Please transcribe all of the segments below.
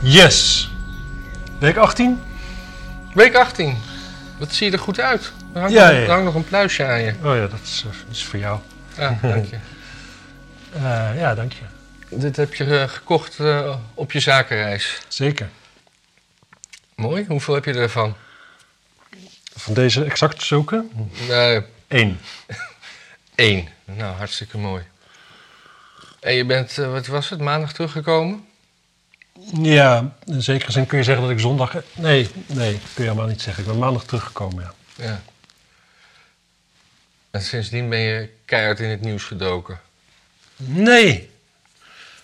Yes. Week 18? Week 18. Wat zie je er goed uit. Er hangt, Ja, nog, ja, ja. er hangt nog een pluisje aan je. Oh ja, dat is, eh, dat is voor jou. Ja, dank je. Eh, ja, dank je. Dit heb je eh, gekocht eh, op je zakenreis. Zeker. Mooi. Hoeveel heb je ervan? Van deze exact zulke? Eh, Eén. één. Nou, hartstikke mooi. En je bent, eh, wat was het, maandag teruggekomen? Ja, in zekere zin kun je zeggen dat ik zondag... Nee, nee, kun je helemaal niet zeggen. Ik ben maandag teruggekomen, ja. Ja. En sindsdien ben je keihard in het nieuws gedoken. Nee.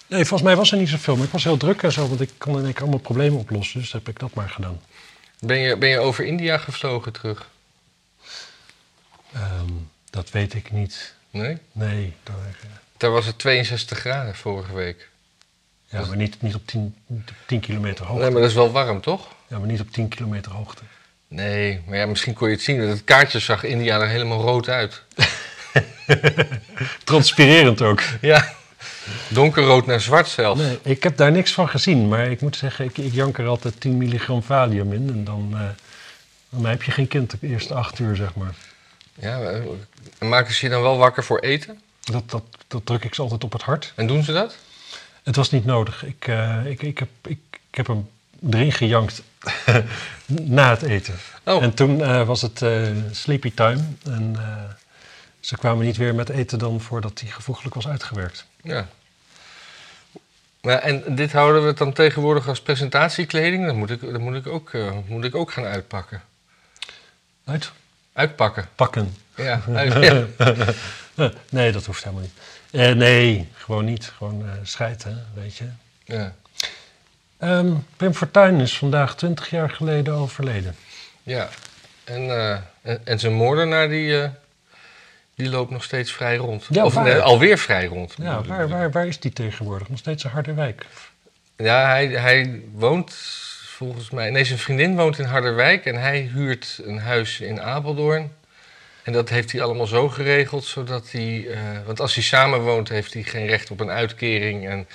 Nee, volgens mij was er niet zoveel. Maar ik was heel druk en zo, want ik kon in één keer allemaal problemen oplossen. Dus heb ik dat maar gedaan. Ben je, ben je over India gevlogen terug? Ehm, dat weet ik niet. Nee? Nee. dat- Daar was het 62 graden vorige week. ja, maar niet, niet, op 10, niet op 10 kilometer hoogte. Nee, maar dat is wel warm, toch? Ja, maar niet op 10 kilometer hoogte. Nee, maar ja, misschien kon je het zien. want het kaartje zag India er helemaal rood uit. Transpirerend ook. Ja. Donkerrood naar zwart zelfs. Nee, ik heb daar niks van gezien, maar ik moet zeggen, ik, ik jank er altijd 10 milligram valium in. En dan, eh, dan heb je geen kind de eerste acht uur, zeg maar. Ja, eh, maken ze je dan wel wakker voor eten? Dat, dat, dat druk ik ze altijd op het hart. En doen ze dat? Het was niet nodig. Ik, eh, ik, ik, heb, ik, ik heb hem erin gejankt na het eten. Oh. En toen eh, was het eh, sleepy time. En eh, ze kwamen niet weer met eten dan voordat hij gevoeglijk was uitgewerkt. Ja. Maar en dit houden we dan tegenwoordig als presentatiekleding? Dat moet ik, dat moet ik, ook, eh, moet ik ook gaan uitpakken. Uitpakken. Uitpakken. Ja, uit- ja. Eh, nee, dat hoeft helemaal niet. Eh, nee, gewoon niet. Gewoon eh scheiden, weet je. ja. Ehm Pim Fortuyn is vandaag 20 jaar geleden overleden. ja. En, eh, en, en zijn moordenaar die, eh, die loopt nog steeds vrij rond. Ja, of waar? nee, alweer vrij rond. Ja, bedoel waar, ik. waar, waar is die tegenwoordig? Nog steeds een harde wijk. Ja, hij, hij woont volgens mij. Nee, zijn vriendin woont in Harderwijk en hij huurt een huis in Apeldoorn. En dat heeft hij allemaal zo geregeld, zodat hij. eh, want als hij samen woont, heeft hij geen recht op een uitkering. En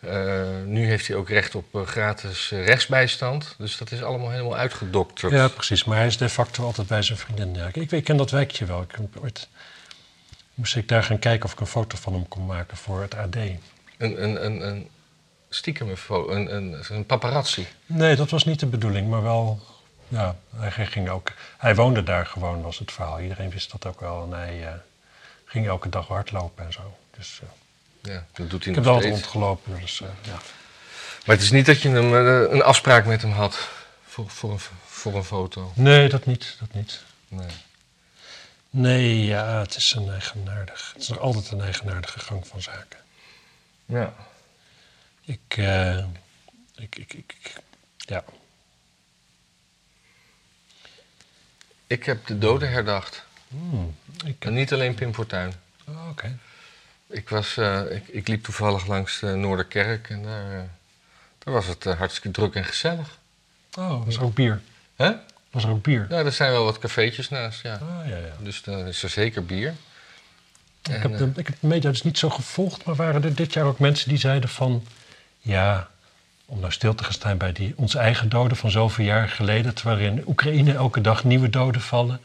eh, nu heeft hij ook recht op eh, gratis eh, rechtsbijstand. Dus dat is allemaal helemaal uitgedokterd. Ja, precies. Maar hij is de facto altijd bij zijn vriendin. Ja, ik, ik, ken dat wijkje wel. Ik heb ooit moest ik daar gaan kijken of ik een foto van hem kon maken voor het AD. Een, een, een, een stiekem een, een, een paparazzi. Nee, dat was niet de bedoeling, maar wel... Ja, hij ging ook... Hij woonde daar gewoon, was het verhaal. Iedereen wist dat ook wel. En hij eh, ging elke dag hardlopen en zo. Dus eh, Ja, dat doet ik hij heb nog wel steeds. rondgelopen. Dus, eh, ja. Maar het is niet dat je hem, eh, een afspraak met hem had voor, voor, een, voor een foto. Nee, dat niet, dat niet. Nee. Nee, ja, het is een eigenaardig... Het is nog altijd een eigenaardige gang van zaken. Ja. Ik, eh, ik, ik, ik, ik- ja. Ik heb de doden herdacht. Hmm, ik, En niet alleen Pim Fortuyn. oh, Oké. Ik, was, eh, ik, ik liep toevallig langs de Noorderkerk en daar, eh, daar was het eh, hartstikke druk en gezellig. Oh, was er ook bier? Hè? Was er ook bier? Ja, er zijn wel wat cafeetjes naast, ja. Ah, ja, ja. Dus dan is er zeker bier. Ik En, heb, de, ik heb de media dus niet zo gevolgd, maar waren er dit jaar ook mensen die zeiden van... Ja, om nou stil te gaan staan bij die, onze eigen doden van zoveel jaar geleden... terwijl er in Oekraïne elke dag nieuwe doden vallen.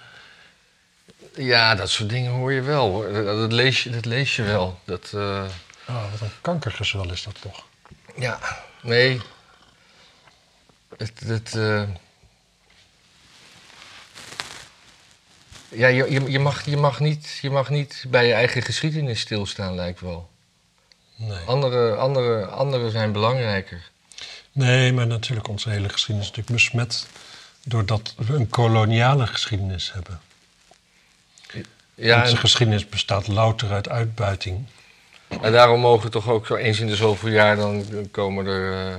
Ja, dat soort dingen hoor je wel. Hoor. Dat, dat lees, je, dat lees je wel. Dat, eh, Oh, wat een kankergezwel is dat toch. Ja, nee. Het, het, eh, Ja, je, je, je mag, je, mag niet, je mag niet bij je eigen geschiedenis stilstaan, lijkt wel. Nee. Anderen andere, andere zijn belangrijker. nee, maar natuurlijk onze hele geschiedenis is natuurlijk besmet... doordat we een koloniale geschiedenis hebben. Ja, onze en, geschiedenis bestaat louter uit uitbuiting. en daarom mogen toch ook zo eens in de zoveel jaar... dan komen er eh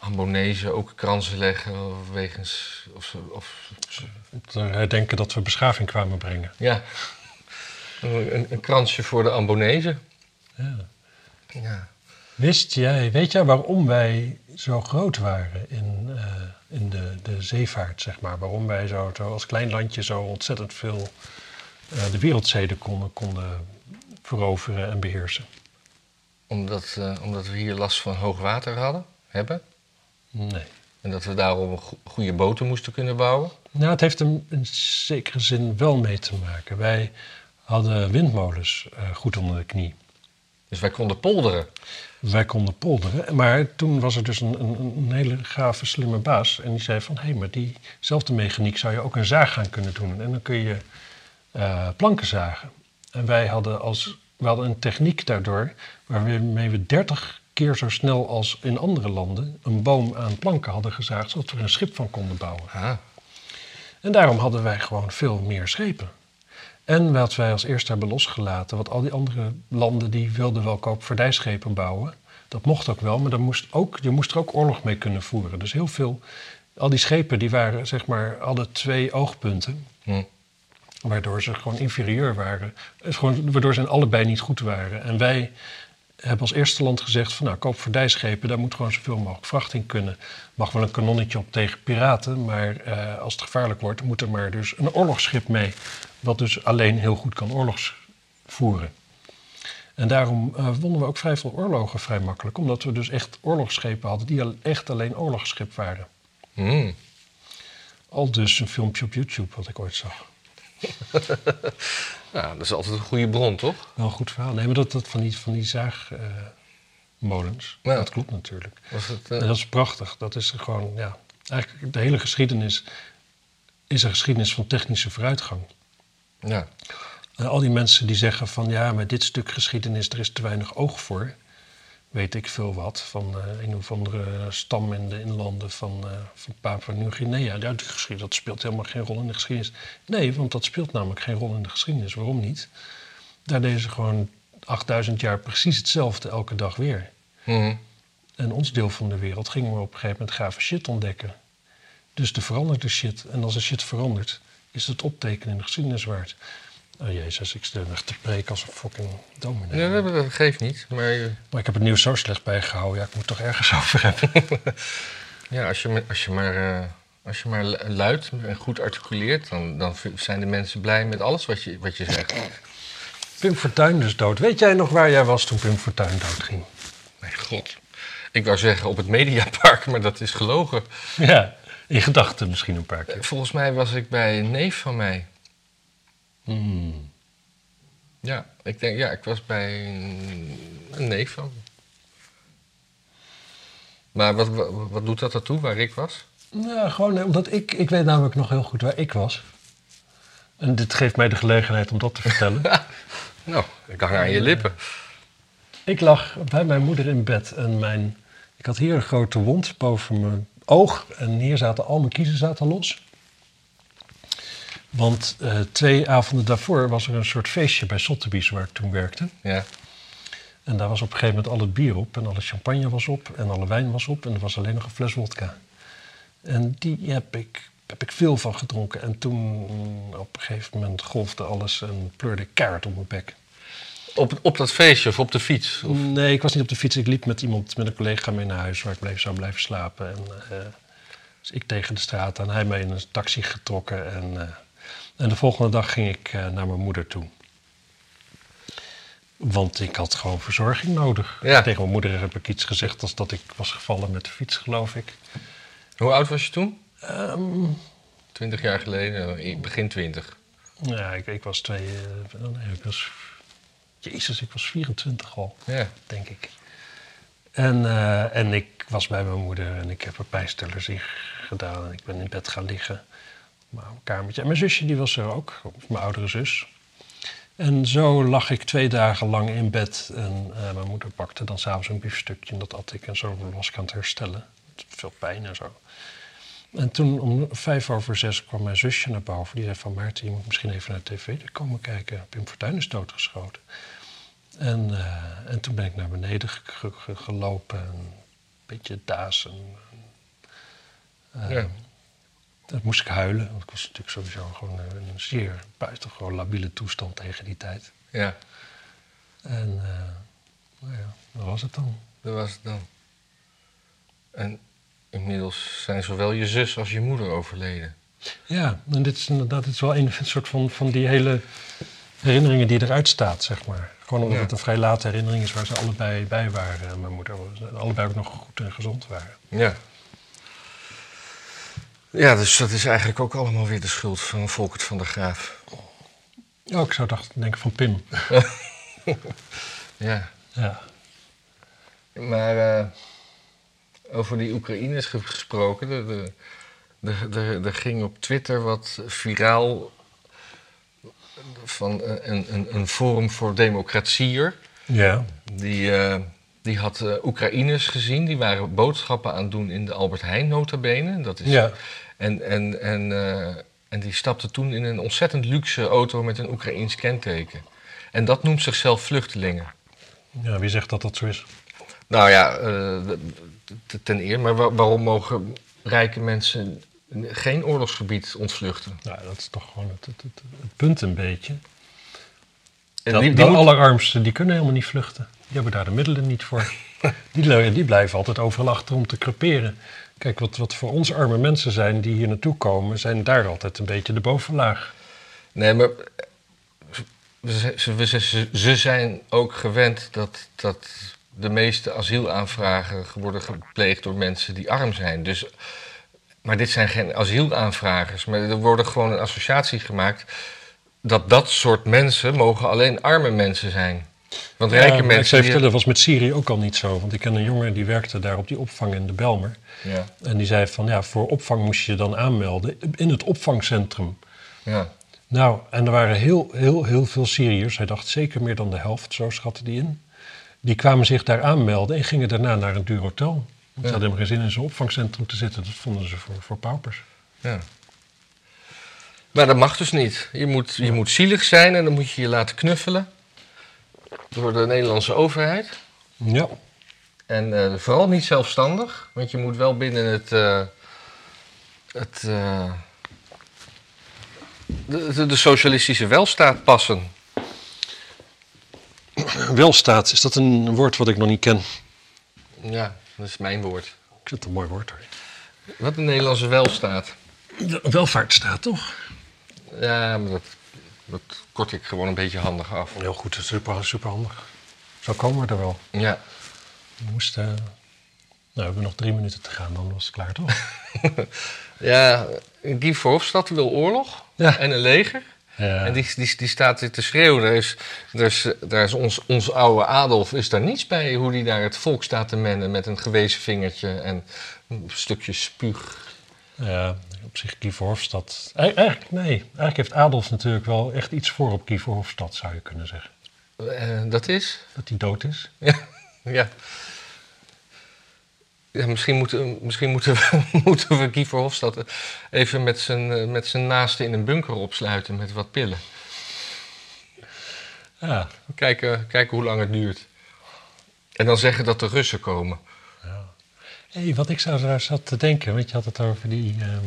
Ambonezen ook kransen leggen wegens... Of, ze- of, Om te herdenken dat we beschaving kwamen brengen. ja, een, een kransje voor de Ambonezen. Ja. Ja. Wist jij, weet jij waarom wij zo groot waren in, eh, in de, de zeevaart, zeg maar? Waarom wij zo, zo als klein landje zo ontzettend veel eh, de wereldzeden konden, konden veroveren en beheersen? Omdat, eh, omdat we hier last van hoog water hadden. hebben. Nee. En dat we daarom een go- goede boten moesten kunnen bouwen. Nou, het heeft er in zekere zin wel mee te maken. Wij hadden windmolens eh, goed onder de knie. Dus wij konden polderen. Wij konden polderen, maar toen was er dus een, een, een hele gave, slimme baas. En die zei van, hé, hey, maar diezelfde mechaniek zou je ook een zaag gaan kunnen doen. En dan kun je eh, planken zagen. En wij hadden, als, we hadden een techniek daardoor waarmee we 30 keer zo snel als in andere landen een boom aan planken hadden gezaagd, zodat we er een schip van konden bouwen. Ah, En daarom hadden wij gewoon veel meer schepen. En wat wij als eerste hebben losgelaten, want al die andere landen die wilden wel koopvaardijschepen bouwen. Dat mocht ook wel, maar dan moest ook, je moest er ook oorlog mee kunnen voeren. Dus heel veel, al die schepen die waren, zeg maar, hadden twee oogpunten. hm. Waardoor ze gewoon inferieur waren. Het is gewoon, waardoor ze in allebei niet goed waren. En wij hebben als eerste land gezegd: van nou, koop verdijschepen, daar moet gewoon zoveel mogelijk vracht in kunnen. Mag wel een kanonnetje op tegen piraten, maar eh, als het gevaarlijk wordt, moet er maar dus een oorlogsschip mee. Wat dus alleen heel goed kan oorlogs voeren. En daarom eh, wonnen we ook vrij veel oorlogen vrij makkelijk, omdat we dus echt oorlogsschepen hadden die al- echt alleen oorlogsschip waren. Hm. Al dus een filmpje op YouTube wat ik ooit zag. Nou, dat is altijd een goede bron, toch? Wel een goed verhaal. Nee, maar dat, dat van die, van die zaagmolens, Ja. dat klopt natuurlijk. Was het, En eh, dat is prachtig. Dat is gewoon, ja, eigenlijk de hele geschiedenis is een geschiedenis van technische vooruitgang. ja. En al die mensen die zeggen van, ja, maar dit stuk geschiedenis, er is te weinig oog voor. Weet ik veel wat van eh, een of andere stam in de inlanden van, eh van Papua-Nieuw-Guinea. Ja, die geschiedenis, dat speelt helemaal geen rol in de geschiedenis. Nee, want dat speelt namelijk geen rol in de geschiedenis. Waarom niet? Daar deden ze gewoon 8000 jaar precies hetzelfde elke dag weer. Hm. En ons deel van de wereld gingen we op een gegeven moment gave shit ontdekken. Dus er verandert de shit. En als de shit verandert, is het optekenen in de geschiedenis waard. Oh jezus, ik stel echt te preken als een fucking dominee. Nee, dat dat geeft niet. Maar eh, Maar ik heb het nieuws zo slecht bijgehouden. Ja, ik moet het toch ergens over hebben. ja, als, je, maar- als, je maar, eh, als je maar lu- luid en goed articuleert, dan, dan v- zijn de mensen blij met alles wat je, wat je zegt. Pim Fortuyn dus dood. Weet jij nog waar jij was toen Pim Fortuyn doodging? Mijn god. Ik wou zeggen op het Mediapark, maar dat is gelogen. Ja, in gedachten misschien een paar keer. Volgens mij was ik bij een neef van mij. Hmm. Ja, ik denk, ja, ik was bij een, een neef van. me. Maar wat, wat, wat doet dat ertoe waar ik was? Nou, gewoon eh, omdat ik... Ik weet namelijk nog heel goed waar ik was. En dit geeft mij de gelegenheid om dat te vertellen. Nou, ik hang aan je lippen. Ik lag bij mijn moeder in bed en mijn, ik had hier een grote wond boven mijn oog. En hier zaten al mijn kiezen zaten los. Want eh, twee avonden daarvoor was er een soort feestje bij Sotheby's waar ik toen werkte. Ja. En daar was op een gegeven moment al het bier op en alle champagne was op en alle wijn was op. En er was alleen nog een fles wodka. En die heb ik, heb ik veel van gedronken. En toen mm, op een gegeven moment golfde alles en pleurde ik keihard op mijn bek. Op, op dat feestje of op de fiets? Of, Nee, ik was niet op de fiets. Ik liep met iemand, met een collega mee naar huis waar ik bleef, zou blijven slapen. En, eh, dus ik tegen de straat aan, hij mij in een taxi getrokken. En, eh, en de volgende dag ging ik eh, naar mijn moeder toe. Want ik had gewoon verzorging nodig. Ja. Tegen mijn moeder heb ik iets gezegd als dat ik was gevallen met de fiets, geloof ik. hoe oud was je toen? Ehm, Twintig jaar geleden, eh, begin twintig. ja, ik, ik was twee... eh, nee, ik was... Jezus, ik was 24 al. Ja. denk ik. En, eh, en ik was bij mijn moeder en ik heb er pijnstillers in gedaan. En ik ben in bed gaan liggen op mijn oude kamertje. En mijn zusje die was er ook, of mijn oudere zus. En zo lag ik twee dagen lang in bed. En eh, mijn moeder pakte dan s'avonds een biefstukje en dat at ik. En zo was ik aan het herstellen. Met Veel pijn en zo. En toen om vijf over zes kwam mijn zusje naar boven. Die zei van Maarten, je moet misschien even naar de tv komen kijken. Pim Fortuyn is doodgeschoten. En, eh, en toen ben ik naar beneden ge- ge- ge- gelopen. en Een beetje daas. En, eh, Ja. dan moest ik huilen. Want ik was natuurlijk sowieso gewoon eh, in een zeer buitengewoon labiele toestand tegen die tijd. ja, En eh, nou ja, dat was het dan. dat was het dan. En inmiddels zijn zowel je zus als je moeder overleden. Ja, en dit is inderdaad dit is wel een soort van, van die hele herinneringen die eruit staat, zeg maar. Gewoon omdat Ja. het een vrij late herinnering is waar ze allebei bij waren. En mijn moeder was- allebei ook nog goed en gezond waren. Ja. Ja, dus dat is eigenlijk ook allemaal weer de schuld van Volkert van der Graaf. Oh, ik zou dacht, denken van Pim. Ja. Ja. Maar eh, over die Oekraïners ge- gesproken, er- er- er- er- er ging op Twitter wat viraal van eh, een, een, een Forum voor Democratieër. Ja. Die, eh, die had eh, Oekraïners gezien, die waren boodschappen aan het doen in de Albert Heijn notabene. Dat is, Ja. En, en, en, eh, en die stapte toen in een ontzettend luxe auto met een Oekraïns kenteken. En dat noemt zichzelf vluchtelingen. ja, wie zegt dat dat zo is? Nou ja, eh, t- ten eer, maar wa- waarom mogen rijke mensen geen oorlogsgebied ontvluchten? Nou, dat is toch gewoon het, het, het, het punt een beetje. En dat, die- die de moet- allerarmsten, die kunnen helemaal niet vluchten. Die hebben daar de middelen niet voor. die, le- die blijven altijd overal achter om te creperen. Kijk, wat, wat voor ons arme mensen zijn die hier naartoe komen... zijn daar altijd een beetje de bovenlaag. Nee, maar eh, ze, ze- ze- ze- ze zijn ook gewend dat, dat de meeste asielaanvragen worden gepleegd door mensen die arm zijn. Dus, maar dit zijn geen asielaanvragers, maar er wordt gewoon een associatie gemaakt dat dat soort mensen mogen alleen arme mensen zijn. Want rijke Ja, maar Eh, Ik mensen. zou je die- vertellen, dat was met Syrië ook al niet zo. Want ik ken een jongen die werkte daar op die opvang in de Belmer. Ja, En die zei van, ja, voor opvang moest je je dan aanmelden in het opvangcentrum. ja. Nou, en er waren heel, heel, heel veel Syriërs. Hij dacht zeker meer dan de helft, zo schatte die in. Die kwamen zich daar aanmelden en gingen daarna naar een duur hotel. Want ze Ja. hadden helemaal geen zin in zo'n opvangcentrum te zitten. Dat vonden ze voor, voor paupers. Ja. Maar dat mag dus niet. Je moet, je moet zielig zijn en dan moet je je laten knuffelen door de Nederlandse overheid. Ja, En eh, vooral niet zelfstandig, want je moet wel binnen het. eh, het eh, de, de, de socialistische welstaat passen. welstaat, is dat een woord wat ik nog niet ken? Ja, dat is mijn woord. Ik vind het een mooi woord hoor. Wat de Nederlandse welstaat. welvaartsstaat toch? Ja, maar dat, dat kort ik gewoon een beetje handig af. Heel goed, dat is super, super handig. Zo komen we er wel. Ja. We moesten... Nou, we hebben nog drie minuten te gaan, dan was het klaar toch? Ja, Guy Verhofstadt wil oorlog Ja. en een leger. Ja. En die, die, die staat hier te schreeuwen. Daar is, daar is, daar is ons, ons oude Adolf is daar niets bij hoe die daar het volk staat te mennen met een gewezen vingertje en een stukje spuug. Ja, op zich Guy Hofstad. Eigenlijk, nee. Eigenlijk heeft Adolf natuurlijk wel echt iets voor op Guy Verhofstadt, zou je kunnen zeggen. Eh, dat is. Dat hij dood is. Ja. Ja, misschien moeten, misschien moeten we, moeten we Guy Verhofstadt even met zijn, eh, met zijn naasten in een bunker opsluiten met wat pillen. Ja, Kijken, kijken hoe lang het duurt. En dan zeggen dat de Russen komen. Hey, wat ik zou daar zat te denken, want je had het over die, ehm,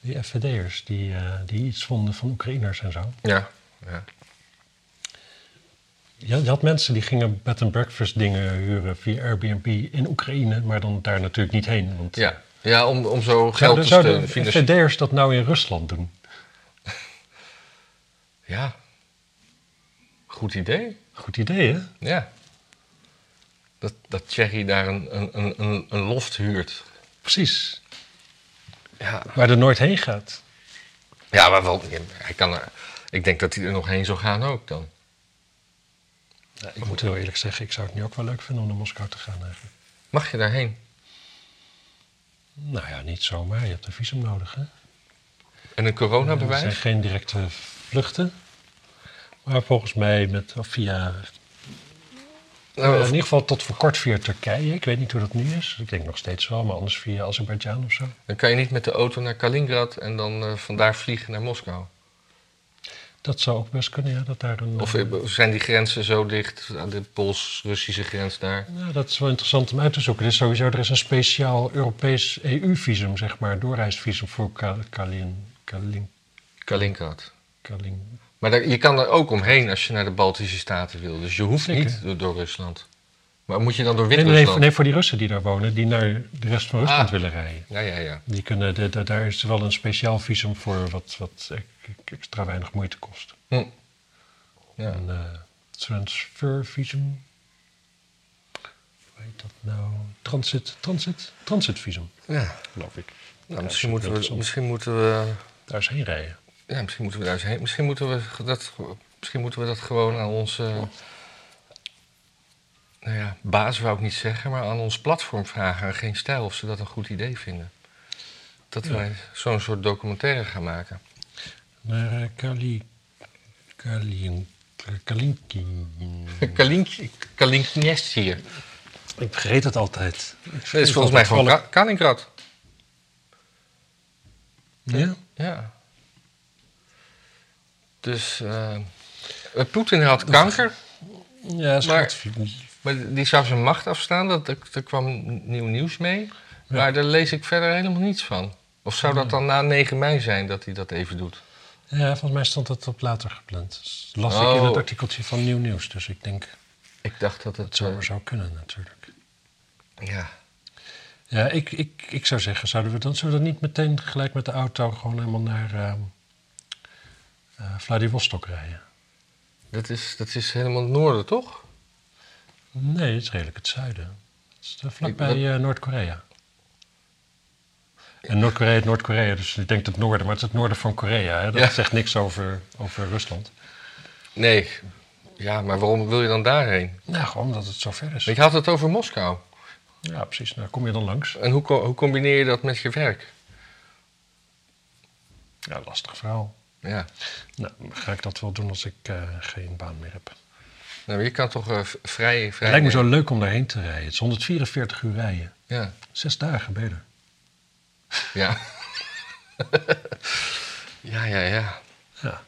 die FVD'ers die, eh, die iets vonden van Oekraïners en zo. Ja. ja. Je, had- je had mensen die gingen bed and breakfast dingen huren via Airbnb in Oekraïne, maar dan daar natuurlijk niet heen. Want Ja, ja om, om zo geld zouden, dus te Nou, zouden steunen. financi- FVD'ers dat nou in Rusland doen? Ja. Goed idee. Goed idee, hè? Ja. Dat, dat Thierry daar een, een, een- een, een loft huurt. Precies. Ja, Waar er nooit heen gaat. ja maar wel, ja, hij kan er, ik denk dat hij er nog heen zou gaan ook dan. Nou, ik moet heel eerlijk zeggen, ik zou het nu ook wel leuk vinden om naar Moskou te gaan eigenlijk. Mag je daarheen? Nou ja, niet zomaar. Je hebt een visum nodig, hè? En een Er zijn coronabewijs? geen directe vluchten. Maar volgens mij met, of via, Nou, in Oh, of- ieder geval tot voor kort via Turkije. Ik weet niet hoe dat nu is. Ik denk nog steeds wel, maar anders via Azerbeidzjan of zo. dan kan je niet met de auto naar Kaliningrad en dan eh, vandaar vliegen naar Moskou. Dat zou ook best kunnen, ja, dat daar een... Of eh, zijn die grenzen zo dicht, aan de Pools-Russische grens daar? nou, dat is wel interessant om uit te zoeken. Er is sowieso er is een speciaal Europees EU-visum, zeg maar, doorreisvisum voor Ka- Kalin, Kalin, Kaliningrad. Kalin. Maar daar- je kan er ook omheen als je naar de Baltische Staten wil. Dus je hoeft Zeker. niet door, door Rusland. Maar moet je dan door Nee, nee, Wit-Rusland? nee, nee, voor die Russen die daar wonen, die naar de rest van Rusland Ah. willen rijden. Ja, ja, ja. Die kunnen, de- de- daar is wel een speciaal visum voor wat, wat e- extra weinig moeite kost. Hm. ja. En, eh, transfervisum. Hoe heet dat nou? Transit, transit, transitvisum, Ja. geloof ik. Nou, Ja, dat misschien, is moeten we, interessant. misschien moeten we Daar is heen rijden. Ja, misschien moeten we daar eens heen. Misschien moeten we dat, misschien moeten we dat gewoon aan onze. Nou ja, baas wou ik niet zeggen, maar aan ons platform vragen, aan geen stijl, of ze dat een goed idee vinden. Dat Ja. wij zo'n soort documentaire gaan maken. Naar eh, Kali... Kali... Kalinkin. Kalinkje- Kalinknest hier. Ik vergeet het altijd. Dat is volgens mij gewoon Ka- Kalinkrat. Ja? Ja. Dus. eh, Poetin had kanker. Ja, Maar- schat. Maar die zou zijn macht afstaan, dat, er, er kwam nieuw nieuws mee. Maar daar lees ik verder helemaal niets van. Of zou dat dan na 9 mei zijn dat hij dat even doet? Ja, volgens mij stond dat op later gepland. Dat las ik in Oh. het artikeltje van Nieuw Nieuws. Dus ik denk Ik dacht dat dat het... zou maar zou kunnen natuurlijk. eh, ja. Ja, ik, ik, ik zou zeggen, zouden we, dan, zullen we dan niet meteen gelijk met de auto gewoon helemaal naar ehm, eh, Vladivostok rijden? dat, is, dat is helemaal het noorden, toch? Nee, het is redelijk het zuiden. Het is eh, vlakbij Ik- eh, Noord-Korea. En Noord-Korea is Noord-Korea, dus je denkt het noorden, maar het is het noorden van Korea. Hè? Dat Ja. zegt niks over, over Rusland. Nee. Ja, maar waarom wil je dan daarheen? Nou, gewoon omdat het zo ver is. Ik had het over Moskou. Ja, precies. Nou, kom je dan langs? En hoe, co- hoe combineer je dat met je werk? Ja, lastig verhaal. Ja. Nou, ga ik dat wel doen als ik eh, geen baan meer heb. Nou, je kan toch eh, v- vrij... vrij Het lijkt me zo leuk om daarheen te rijden. Het is 144 uur rijden. Ja. Zes dagen beter. Ja. ja, ja, ja. Ja.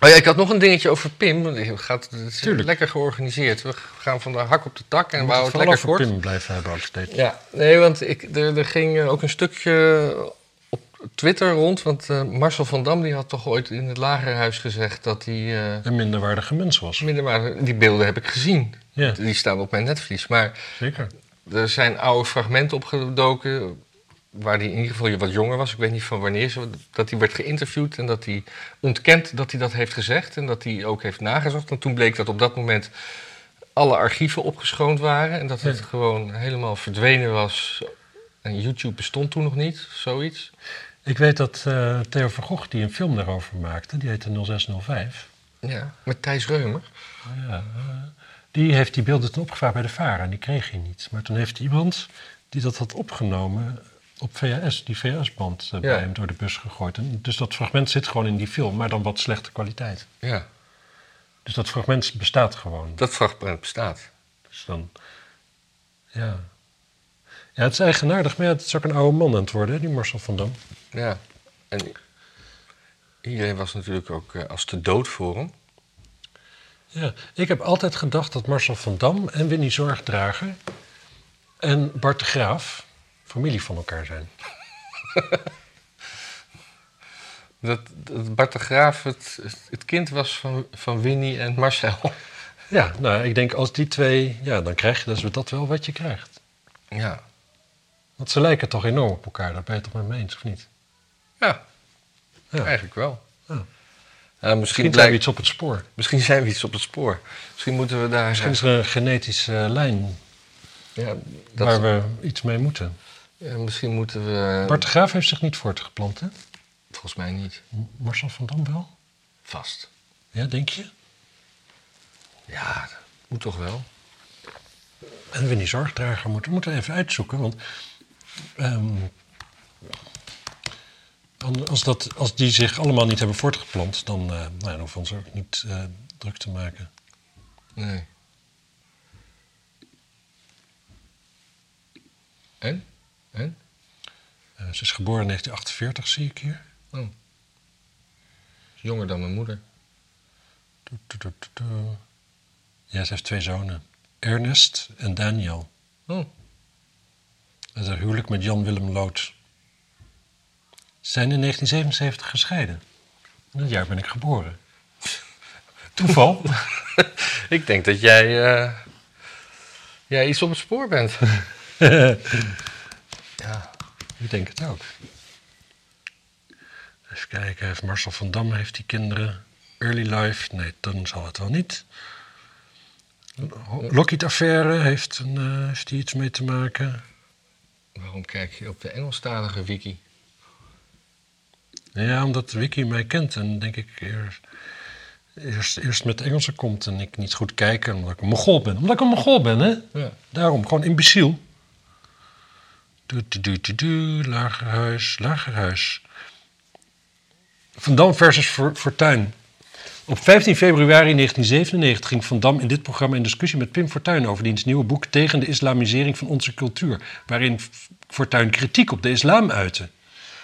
Oh ja, ik had nog een dingetje over Pim. Het gaat het is Tuurlijk. lekker georganiseerd. We gaan van de hak op de tak en En we wou houden het het lekker kort. Pim blijven hebben ook steeds. Ja, nee, want ik, er, er ging eh, ook een stukje op Twitter rond. Want eh, Marcel van Dam die had toch ooit in het lagerhuis gezegd dat hij... eh, Een minderwaardige mens was. minder maar die beelden heb ik gezien. Ja, Die staan op mijn netvlies. Maar zeker. er zijn oude fragmenten opgedoken... waar hij in ieder geval wat jonger was. Ik weet niet van wanneer. ze- Dat hij werd geïnterviewd en dat hij ontkent dat hij dat heeft gezegd. En dat hij ook heeft nagezocht. En toen bleek dat op dat moment alle archieven opgeschoond waren. En dat het Ja. gewoon helemaal verdwenen was. En YouTube bestond toen nog niet, zoiets. Ik weet dat eh, Theo van Gogh die een film daarover maakte. Die heette 0605. Ja, met Thijs Reumer. Ja, eh, die heeft die beelden toen opgevraagd bij de VARA en die kreeg hij niet. Maar toen heeft iemand die dat had opgenomen op VHS, die VHS-band eh, Ja. bij hem door de bus gegooid. En dus dat fragment zit gewoon in die film, maar dan wat slechte kwaliteit. Ja, Dus dat fragment bestaat gewoon. dat fragment bestaat. Dus dan, ja. Ja, het is eigenaardig, maar ja, het is ook een oude man aan het worden, hè, die Marcel van Dam. Ja, en iedereen was natuurlijk ook eh, als de dood voor hem. Ja, ik heb altijd gedacht dat Marcel van Dam en Winnie Zorgdrager en Bart de Graaf familie van elkaar zijn. Dat, dat Bart de Graaf het, het kind was van, van Winnie en Marcel. Ja, nou, ik denk als die twee, ja, dan krijg je dus dat wel wat je krijgt. Ja. Want ze lijken toch enorm op elkaar, daar ben je het toch mee eens, of niet? Ja, Ja. eigenlijk wel. Ja. Eh, misschien, Misschien blijkt- zijn we iets op het spoor. misschien zijn we iets op het spoor. Misschien moeten we daar... Misschien is er een genetische eh, lijn ja, dat, waar we iets mee moeten. ja, misschien moeten we... Bart de Graaf heeft zich niet voortgeplant, hè? Volgens mij niet. Marcel van Dam wel? Vast. Ja, denk je? Ja, dat moet toch wel. En Winnie Zorgdrager moeten we moeten even uitzoeken. Want ehm, an- als, dat, als die zich allemaal niet hebben voortgeplant, dan, eh, nou, dan hoeven we ons ook niet eh, druk te maken. Nee. En? En? Eh, ze is geboren in 1948, zie ik hier. Oh. Is jonger dan mijn moeder. Toet, toet, toet, toet, toet. Ja, ze heeft twee zonen. Ernest en Daniel. Oh. En haar huwelijk met Jan-Willem Lood. Ze zijn in 1977 gescheiden. In dat jaar ben ik geboren. Toeval? Ik denk dat jij, eh, jij iets op het spoor bent. ja. ik denk het ook. Even kijken, heeft Marcel van Dam heeft die kinderen. Early life? Nee, dan zal het wel niet. Lockheed-affaire, heeft, een, eh, heeft die iets mee te maken? Waarom kijk je op de Engelstalige wiki? Ja, omdat Wiki mij kent en denk ik eer- eerst, eerst met Engelsen komt en ik niet goed kijk omdat ik een Mongool ben. Omdat ik een Mongool ben, hè? Ja. Daarom, gewoon imbeciel. Du, du, du, du, du, lagerhuis, lagerhuis. Van Dam versus Fo- Fortuyn. Op 15 februari 1997 ging Van Dam in dit programma in discussie met Pim Fortuyn over diens nieuwe boek Tegen de islamisering van onze cultuur, waarin F- Fortuyn kritiek op de islam uitte.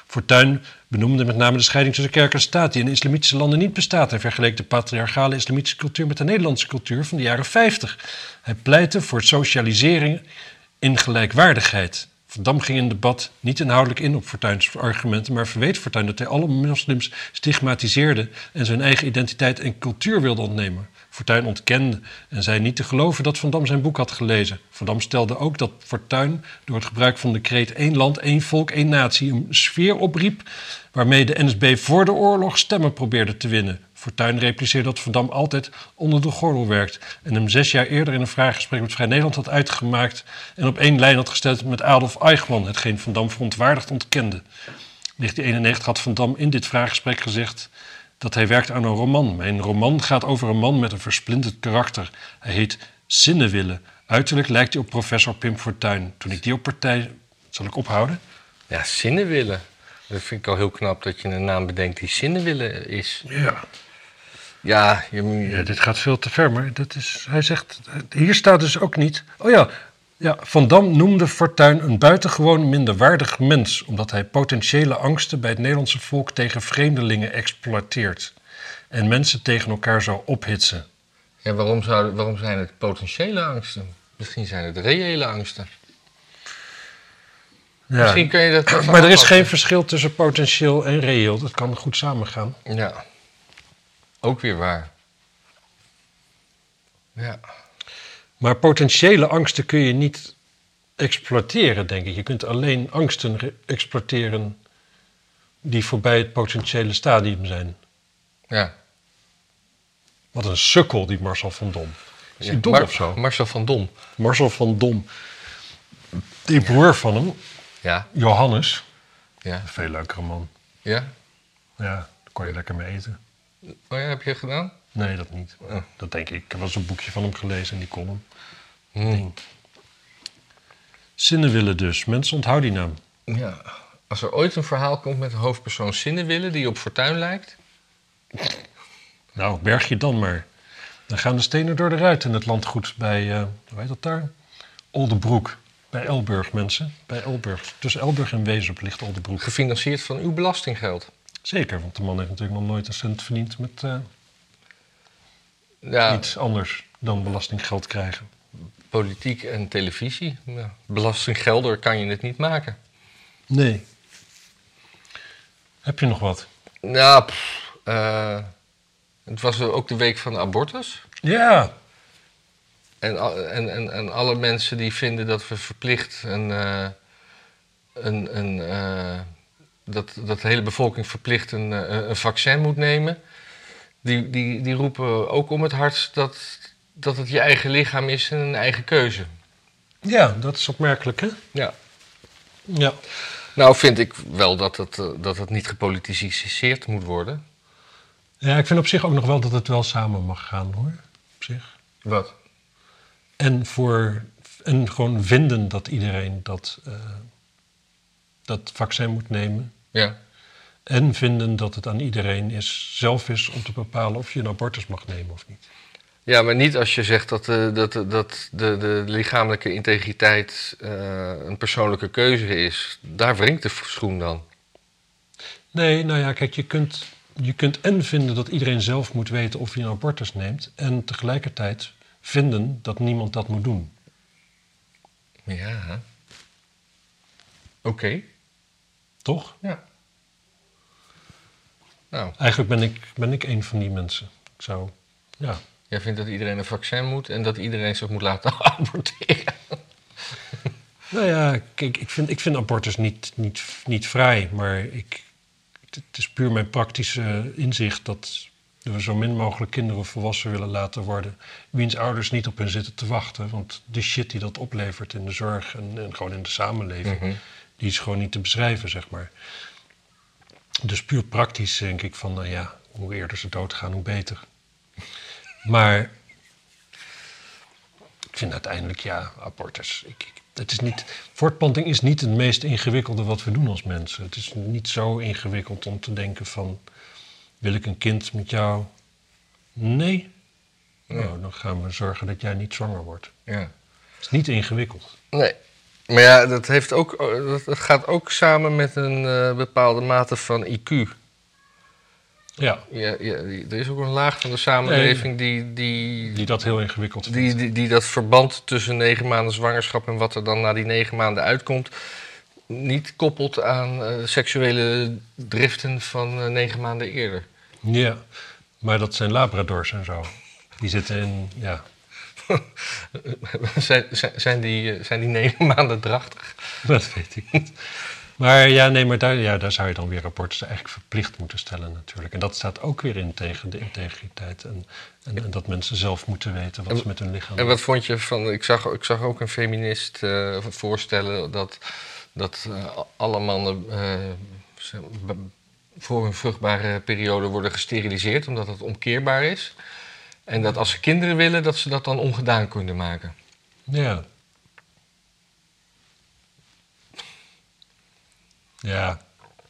Fortuyn benoemde met name de scheiding tussen kerk en staat die in islamitische landen niet bestaat. Hij vergeleek de patriarchale islamitische cultuur met de Nederlandse cultuur van de jaren 50. Hij pleitte voor socialisering in gelijkwaardigheid. Van Dam ging in debat niet inhoudelijk in op Fortuyn's argumenten, maar verweet Fortuyn dat hij alle moslims stigmatiseerde en zijn eigen identiteit en cultuur wilde ontnemen. Fortuyn ontkende en zei niet te geloven dat Van Dam zijn boek had gelezen. Van Dam stelde ook dat Fortuyn door het gebruik van de kreet één land, één volk, één natie een sfeer opriep waarmee de NSB voor de oorlog stemmen probeerde te winnen. Fortuyn repliceerde dat Van Dam altijd onder de gordel werkt en hem zes jaar eerder in een vraaggesprek met Vrij Nederland had uitgemaakt en op één lijn had gesteld met Adolf Eichmann, hetgeen Van Dam verontwaardigd ontkende. In 1991 had Van Dam in dit vraaggesprek gezegd dat hij werkt aan een roman. Mijn roman gaat over een man met een versplinterd karakter. Hij heet Zinnewille. Uiterlijk lijkt hij op professor Pim Fortuyn. Toen ik die op partij... Zal ik ophouden? Ja, Zinnenwillen. Dat vind ik al heel knap dat je een naam bedenkt die Zinnenwillen is. Ja. Ja, je, moet- Ja, dit gaat veel te ver, maar dat is, hij zegt, hier staat dus ook niet. Oh ja, ja, Van Dam noemde Fortuyn een buitengewoon minderwaardig mens, omdat hij potentiële angsten bij het Nederlandse volk tegen vreemdelingen exploiteert en mensen tegen elkaar zou ophitsen. ja waarom, zouden, waarom zijn het potentiële angsten? Misschien zijn het reële angsten. Ja. Misschien kun je dat. even maar er is aanpassen. geen verschil tussen potentieel en reëel. Dat kan goed samengaan. Ja. Ook weer waar. Ja. Maar potentiële angsten kun je niet exploiteren, denk ik. Je kunt alleen angsten re- exploiteren die voorbij het potentiële stadium zijn. ja. Wat een sukkel, die Marcel van Dom. Is hij Ja, dom Mar- of zo? Marcel van Dom. Marcel van Dom. Die broer van hem, Ja. Johannes. Ja. Een veel leukere man. Ja. Ja, daar kon je lekker mee eten. Oh ja, heb je gedaan? Nee, dat niet. Eh, Oh. Dat denk ik. Ik heb wel eens een boekje van hem gelezen en die column. Hm. Zinnen willen dus. Mensen onthouden die naam. Ja. Als er ooit een verhaal komt met een hoofdpersoon Zinnenwillen die op Fortuin lijkt. Nou, berg je dan maar. Dan gaan de stenen door de ruit in het landgoed bij, eh, hoe heet dat daar? Oldenbroek. Bij Elburg, mensen. Bij Elburg. Tussen Elburg en Wezup ligt Oldenbroek. Gefinancierd van uw belastinggeld. Zeker, want de man heeft natuurlijk nog nooit een cent verdiend met eh, Ja. iets anders dan belastinggeld krijgen. Politiek en televisie. Ja. Belastinggelder kan je het niet maken. Nee. Heb je nog wat? Nou, pff, eh, het was ook de week van de abortus. Ja. En, al- en, en, en alle mensen die vinden dat we verplicht een. eh, een, een eh, dat, dat de hele bevolking verplicht een, eh, een vaccin moet nemen. Die, die, die roepen ook om het hart dat, dat het je eigen lichaam is en een eigen keuze. Ja, dat is opmerkelijk, hè? Ja. Ja. Nou, vind ik wel dat het, eh, dat het niet gepolitiseerd moet worden. Ja, ik vind op zich ook nog wel dat het wel samen mag gaan, hoor. Op zich. Wat? En, voor, en gewoon vinden dat iedereen dat, eh, dat vaccin moet nemen. Ja. En vinden dat het aan iedereen is, zelf is om te bepalen of je een abortus mag nemen of niet. Ja, maar niet als je zegt dat, eh, dat, dat de, de lichamelijke integriteit eh, een persoonlijke keuze is. Daar wringt de schoen dan. Nee, nou ja, kijk, je kunt, je kunt en vinden dat iedereen zelf moet weten of hij een abortus neemt. En tegelijkertijd vinden dat niemand dat moet doen. Ja. Oké. Toch? Ja. Nou, Eigenlijk ben ik, ben ik een van die mensen. Ik zou, ja. jij vindt dat iedereen een vaccin moet en dat iedereen zich moet laten aborteren. Nou ja, kijk, ik vind, ik vind abortus niet, niet, niet vrij, maar ik, het is puur mijn praktische inzicht dat Dat we zo min mogelijk kinderen volwassen willen laten worden. Wiens ouders niet op hen zitten te wachten. Want de shit die dat oplevert in de zorg en, en gewoon in de samenleving. Mhm. Die is gewoon niet te beschrijven, zeg maar. Dus puur praktisch denk ik van, nou ja, hoe eerder ze doodgaan, hoe beter. Maar ik vind uiteindelijk, ja, abortus. Ik, ik- het is niet, voortplanting is niet het meest ingewikkelde wat we doen als mensen. Het is niet zo ingewikkeld om te denken van, wil ik een kind met jou? Nee. Nou, dan gaan we zorgen dat jij niet zwanger wordt. Ja. Het is niet ingewikkeld. Nee. Maar ja, dat, heeft ook, oh, dat dat gaat ook samen met een eh, bepaalde mate van IQ. Ja, Ja, ja, er is ook een laag van de samenleving die, die, die dat heel ingewikkeld vindt. die, die, die dat verband tussen negen maanden zwangerschap en wat er dan na die negen maanden uitkomt, niet koppelt aan eh, seksuele driften van eh, negen maanden eerder. Ja, maar dat zijn labradors en zo. Die zitten in, ja. zijn, zijn, zijn die, eh, zijn die negen maanden drachtig? Dat weet ik niet. Maar ja, nee, maar daar, ja, daar zou je dan weer rapporten eigenlijk verplicht moeten stellen natuurlijk. En dat staat ook weer in tegen de integriteit. En, en, en dat mensen zelf moeten weten wat ze met hun lichaam En wat vond je van. Ik zag, ik zag ook een feminist eh, voorstellen dat, dat eh, alle mannen eh, ze- b- voor hun vruchtbare periode worden gesteriliseerd, omdat het omkeerbaar is. En dat als ze kinderen willen, dat ze dat dan ongedaan kunnen maken. Ja. Ja.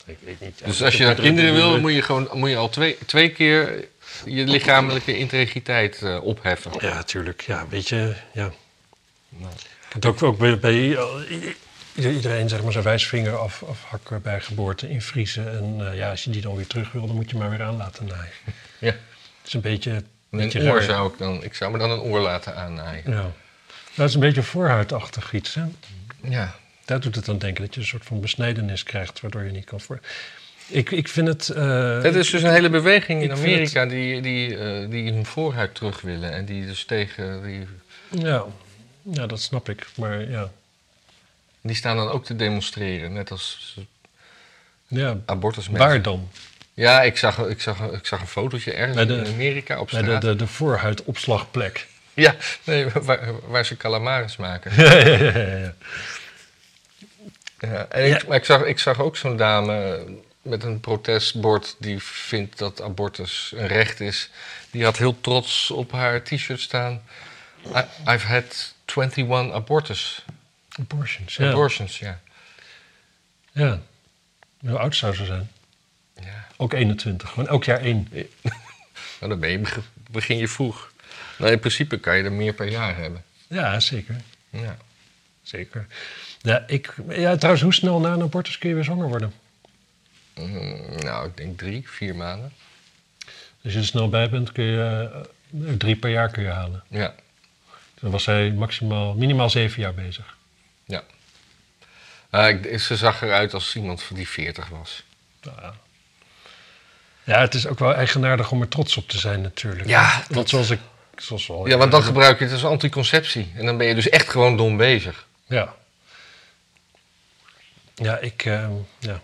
Ik weet niet. dus als je dan kinderen wil, moet je, gewoon, moet je al twee, twee keer je lichamelijke integriteit eh, opheffen. Ja, tuurlijk. Ja, weet je, ja. Nou. Het ook, ook bij, bij i- i- iedereen zeg maar zijn wijsvinger af, afhakken bij geboorte, invriezen. En eh, ja, als je die dan weer terug wil, dan moet je maar weer aan laten naaien. Ja. Het is een beetje... beetje Een oor raar. zou ik dan. Ik zou me dan een oor laten aannaaien. Ja. Dat is een beetje voorhuidachtig iets, hè? Ja. Daar doet het aan denken, dat je een soort van besnijdenis krijgt, waardoor je niet kan voor... Ik, ik vind het... eh, Het is dus een hele beweging in ik vind Amerika die, die, eh, die hun voorhuid terug willen. En die dus tegen. Die, Ja. ja, dat snap ik. Maar ja, die staan dan ook te demonstreren, net als ja abortusmensen. waar dan? Ja, ik zag, ik, zag, ik zag een fotootje ergens Bij de- in Amerika op Bij straat. de, de, de voorhuidopslagplek. Ja, nee, waar, waar ze calamaris maken. ja, ja, ja, ja. Ja, en Ik, maar ik zag, ik zag ook zo'n dame met een protestbord die vindt dat abortus een recht is. Die had heel trots op haar t-shirt staan. I- I've had 21 abortus. Abortions, ja. Abortions, ja. Ja. Hoe oud zou ze zijn? ja. Ook 21. Gewoon elk jaar één. Nou, dan ben je, beg- begin je vroeg. Nou, in principe kan je er meer per jaar hebben. Ja, zeker. Ja. Zeker. Ja, ik, ja, trouwens, hoe snel na een abortus kun je weer zwanger worden? Mm, nou, ik denk drie, vier maanden. Als je er snel bij bent, kun je eh, drie per jaar kun je halen. Ja, Dan was hij maximaal, minimaal zeven jaar bezig. ja. Ah, ik, ze zag eruit als iemand die 40 was. Nou Ja. ja, het is ook wel eigenaardig om er trots op te zijn natuurlijk. Ja, Want dat- zoals ik... Zoals we al Ja, want dan gebruik je het als anticonceptie. En dan ben je dus echt gewoon dom bezig. Ja. Ja, ik... eh, ja.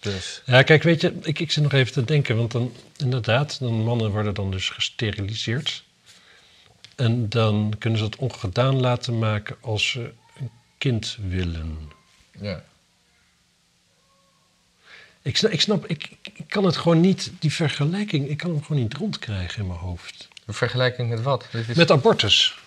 Dus. Ja, kijk, weet je, ik, ik zit nog even te denken, want dan inderdaad, dan mannen worden dan dus gesteriliseerd. En dan kunnen ze dat ongedaan laten maken als ze een kind willen. Ja. Ik, sna- ik snap, ik, ik- ik kan het gewoon niet, die vergelijking, ik kan hem gewoon niet rondkrijgen in mijn hoofd. Een vergelijking met wat? Dit is- Met abortus.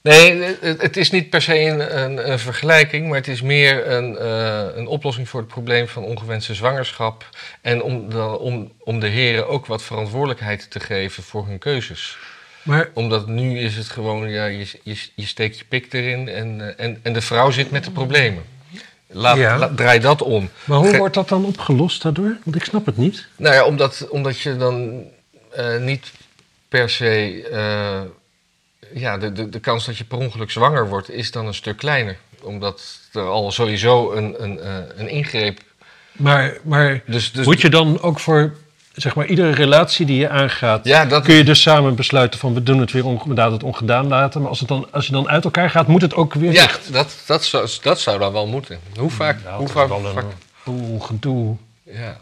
Nee, het, het is niet per se een, een, een vergelijking, maar het is meer een, eh, een oplossing voor het probleem van ongewenste zwangerschap. En om de, om, om de heren ook wat verantwoordelijkheid te geven voor hun keuzes. Maar Omdat nu is het gewoon, ja, je, je, je steekt je pik erin en, eh, en, en de vrouw zit met de problemen. Laat, Ja. la- draai dat om. Maar hoe Ge- wordt dat dan opgelost daardoor? Want ik snap het niet. Nou ja, omdat, omdat je dan eh, niet per se. eh, ja, de, de, de kans dat je per ongeluk zwanger wordt is dan een stuk kleiner. Omdat er al sowieso een, een, eh, een ingreep. Maar, maar Dus, dus moet je dan ook voor zeg maar, iedere relatie die je aangaat, Ja, dat. kun je dus samen besluiten van we doen het weer onge- inderdaad het ongedaan laten. Maar als, het dan, als je dan uit elkaar gaat, moet het ook weer Ja, dicht. dat, dat, zou, dat zou Nou, dan wel moeten. Hoe vaak? Ja, hoe dat vaak, is wel een vaak- boel gedoe. ja.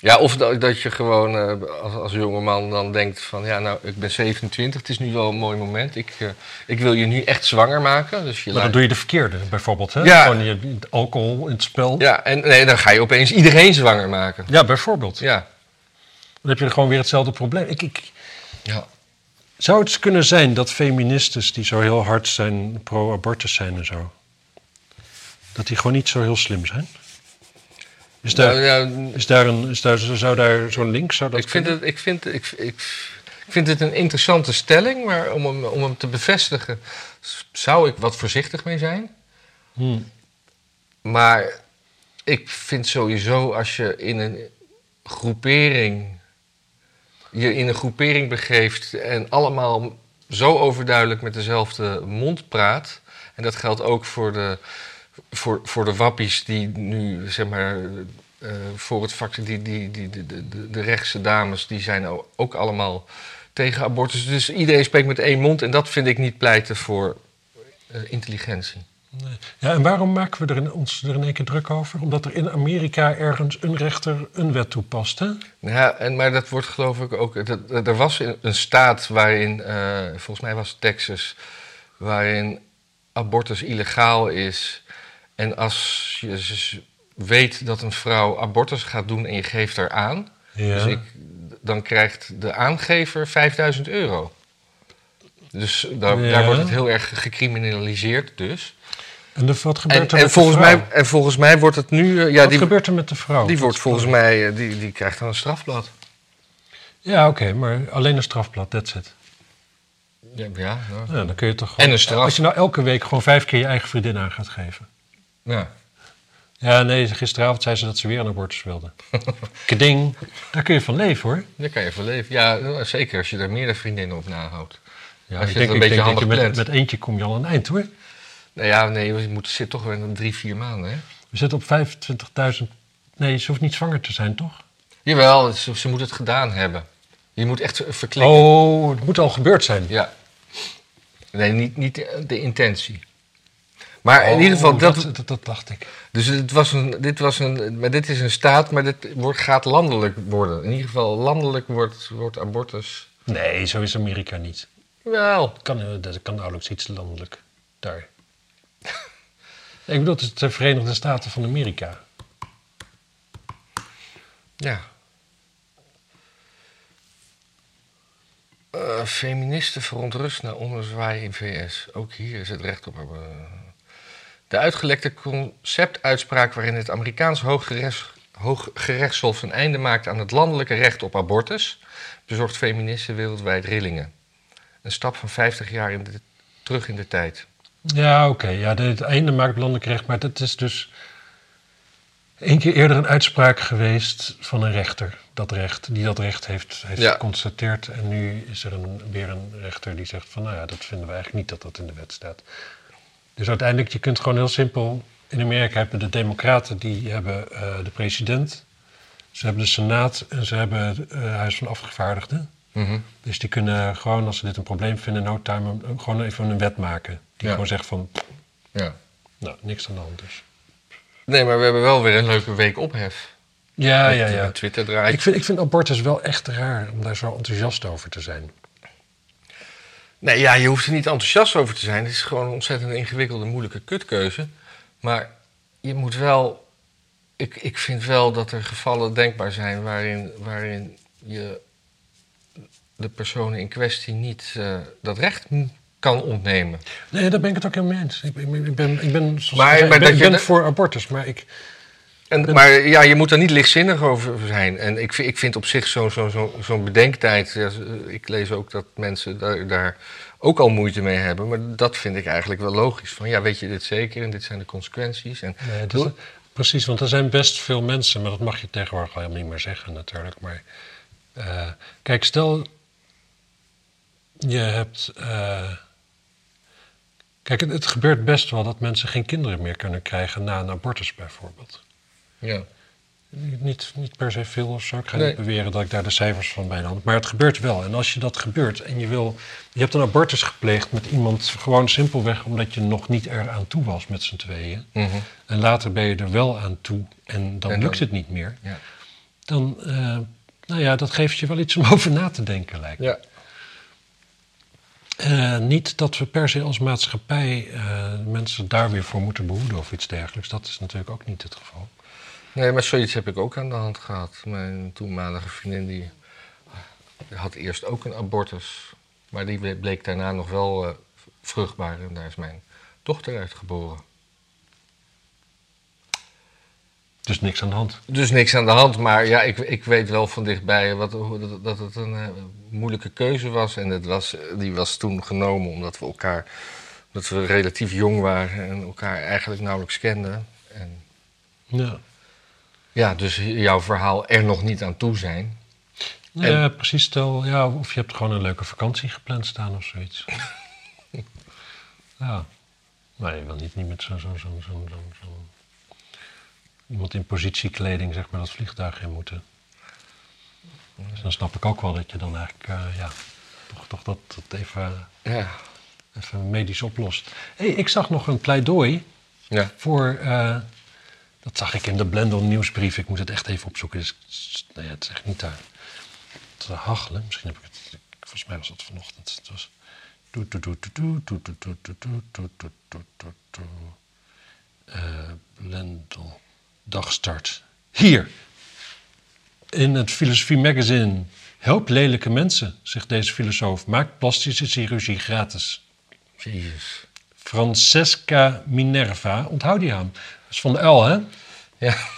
Ja, of dat, dat je gewoon eh, als, als jonge man dan denkt van... ja, nou, ik ben 27, het is nu wel een mooi moment. Ik, eh, ik wil je nu echt zwanger maken. Dus je Maar dan laat- doe je de verkeerde bijvoorbeeld. Hè? Ja. Gewoon je alcohol in het spel. Ja, Ja, en nee, dan ga je opeens iedereen zwanger maken. bijvoorbeeld. Ja. Dan heb je gewoon weer hetzelfde probleem. Ik, ik, ja. zou het kunnen zijn dat feministes die zo heel hard zijn, pro-abortus zijn en zo... dat die gewoon niet zo heel slim zijn? Is daar, Nou, ja, is daar, een, is daar, zou daar zo'n link... Zou dat Ik vind, kunnen? het, ik, vind, ik, ik, ik vind het een interessante stelling, maar om hem, om hem te bevestigen s- zou ik wat voorzichtig mee zijn. Hmm. Maar ik vind sowieso als je in een groepering je in een groepering begeeft en allemaal zo overduidelijk met dezelfde mond praat. En dat geldt ook voor de, voor, voor de wappies die nu, zeg maar, eh, voor het vaccin, die, die, die, de- de, de, de rechtse dames, die zijn o- ook allemaal tegen abortus. Dus iedereen spreekt met één mond en dat vind ik niet pleiten voor eh, intelligentie. Ja, en waarom maken we er in, ons er in één keer druk over? Omdat er in Amerika ergens een rechter een wet toepast, hè? Ja, en, maar dat wordt geloof ik ook. Dat, dat- er was een een staat waarin, eh, volgens mij was het Texas, waarin abortus illegaal is. En als je z- weet dat een vrouw abortus gaat doen en je geeft haar aan, Ja. dus ik, dan krijgt de aangever 5000 euro. Dus daar, Ja. daar wordt het heel erg gecriminaliseerd dus. En de- wat gebeurt En, er en, met volgens de vrouw? mij, en volgens mij wordt het nu... eh, Ja, wat die, gebeurt er met de vrouw? die wordt volgens mij, eh, die, die krijgt dan een strafblad. Ja, oké, maar alleen een strafblad, that's it. Ja, ja nou, Ja, dan kun je toch En een straf. Als je nou elke week gewoon vijf keer je eigen vriendin aan gaat geven. Ja. Ja, nee, gisteravond zei ze dat ze weer een abortus wilde. Keding, daar kun je van leven, hoor. Daar kan je voor leven. Ja, nou, zeker als je daar meerdere vriendinnen op nahoudt. Ja, Als je het een beetje dat je handig met, plant. met eentje kom je al aan een eind, hoor. Nou ja, nee, je moet, zit toch weer in drie, vier maanden, hè? We zitten op 25.000... Nee, ze hoeft niet zwanger te zijn, toch? Jawel, ze, ze moet het gedaan hebben. Je moet echt verklikken. Oh, het moet al gebeurd zijn. Ja. Nee, niet, niet de, de intentie. Maar in Oh, ieder geval, dat, dat, dat, dat dacht ik. dus het was een, dit, was een, maar dit is een staat, maar dit wordt, gaat landelijk worden. In ieder geval, landelijk wordt, wordt abortus. Nee, zo is Amerika niet. Wel, Kan, eh, dat kan nauwelijks iets landelijk daar. ik bedoel, het is de Verenigde Staten van Amerika. Ja. Eh, feministen verontrust na onderzwaai in VS. Ook hier is het recht op. eh, De uitgelekte conceptuitspraak waarin het Amerikaans Hooggerechts- Hooggerechtshof een einde maakt aan het landelijke recht op abortus, bezorgt feministen wereldwijd rillingen. Een stap van 50 jaar in de- terug in de tijd. Ja, oké. Ja, de- het einde maakt landelijk recht. Maar dat is dus één keer eerder een uitspraak geweest van een rechter. Dat recht, die dat recht heeft, heeft Ja. geconstateerd. En nu is er een, weer een rechter die zegt van... nou ja, dat vinden we eigenlijk niet dat dat in de wet staat. Dus uiteindelijk, je kunt gewoon heel simpel... In Amerika hebben de democraten, die hebben eh, de president... ze hebben de senaat en ze hebben het eh, huis van afgevaardigden... Dus die kunnen gewoon, als ze dit een probleem vinden, in no time, een- gewoon even een wet maken. Die Ja. gewoon zegt van, Ja. nou, niks aan de hand dus. Nee, maar we hebben wel weer een leuke week ophef. Ja, Met- ja, ja. met Twitter draait. Ik vind, ik vind abortus wel echt raar om daar zo enthousiast over te zijn. Nee, ja, je hoeft er niet enthousiast over te zijn. Het is gewoon een ontzettend ingewikkelde, moeilijke kutkeuze. Maar je moet wel... Ik, ik vind wel dat er gevallen denkbaar zijn waarin, waarin je de personen in kwestie niet eh, dat recht m- kan ontnemen. Nee, daar ben ik het ook helemaal mee eens. Ik, ben- ik ben, ik ben, zoals Maar- ik zei, maar ik ben, dat ik je ben de- voor abortus, maar ik... En, maar ja, je moet er niet lichtzinnig over zijn. En ik, vind- ik vind op zich zo'n zo, zo, zo'n bedenktijd. ja, z- ik lees ook dat mensen daar, daar ook al moeite mee hebben. Maar dat vind ik eigenlijk wel logisch. Van ja, weet je dit zeker en dit zijn de consequenties. En, Nee, dat Doe- is- precies, want er zijn best veel mensen, maar dat mag je tegenwoordig al helemaal niet meer zeggen natuurlijk. Maar eh, kijk, stel je hebt. eh, kijk, het, het gebeurt best wel dat mensen geen kinderen meer kunnen krijgen na een abortus bijvoorbeeld. ja. Niet, niet per se veel of zo. Ik ga Nee. niet beweren dat ik daar de cijfers van bij de hand. Maar het gebeurt wel. En als je dat gebeurt en je wil. Je hebt een abortus gepleegd met iemand gewoon simpelweg omdat je nog niet eraan toe was met z'n tweeën. Mhm. En later ben je er wel aan toe en dan En dan- lukt het niet meer. Ja. dan, eh, nou ja, dat geeft je wel iets om over na te denken, lijkt me. Ja. Eh, niet dat we per se als maatschappij eh, mensen daar weer voor moeten behoeden of iets dergelijks. Dat is natuurlijk ook niet het geval. Nee, maar zoiets heb ik ook aan de hand gehad. Mijn toenmalige vriendin die had eerst ook een abortus. Maar die bleek daarna nog wel eh, vruchtbaar. En daar is mijn dochter uit geboren. Dus niks aan de hand. Dus niks aan de hand, maar ja, ik, ik weet wel van dichtbij wat, hoe- dat, dat het een eh, moeilijke keuze was. En het was, die was toen genomen omdat we elkaar, omdat we relatief jong waren en elkaar eigenlijk nauwelijks kenden. En Ja, ja, dus jouw verhaal er nog niet aan toe zijn. Nou ja precies. Stel, ja, of je hebt gewoon een leuke vakantie gepland staan of zoiets. ja. Maar je wil niet, niet met zo'n zo, zo, zo, zo, zo- iemand in positiekleding zeg maar, dat vliegtuig in moeten. Dus dan snap ik ook wel dat je dan eigenlijk eh, ja, toch, toch dat, dat even, Ja. even medisch oplost. hey, ik zag nog een pleidooi Ja. voor. eh, dat zag ik in de Blendel nieuwsbrief. Ik moet het echt even opzoeken. Dus, s- nee, het is echt niet daar te hachelen. Misschien heb ik het. ik- Volgens mij was dat vanochtend. Het was. Doet, doet, doet, doet, doet, doet, doet, doet, doet, doet, doet, doet, doet, doet, doet. Eh, Blendel. Dagstart. Hier. In het Filosofie Magazine. Help lelijke mensen, zegt deze filosoof. Maak plastische chirurgie gratis. Jezus. Francesca Minerva. Onthoud die aan. Dat is van de L, hè? Ja.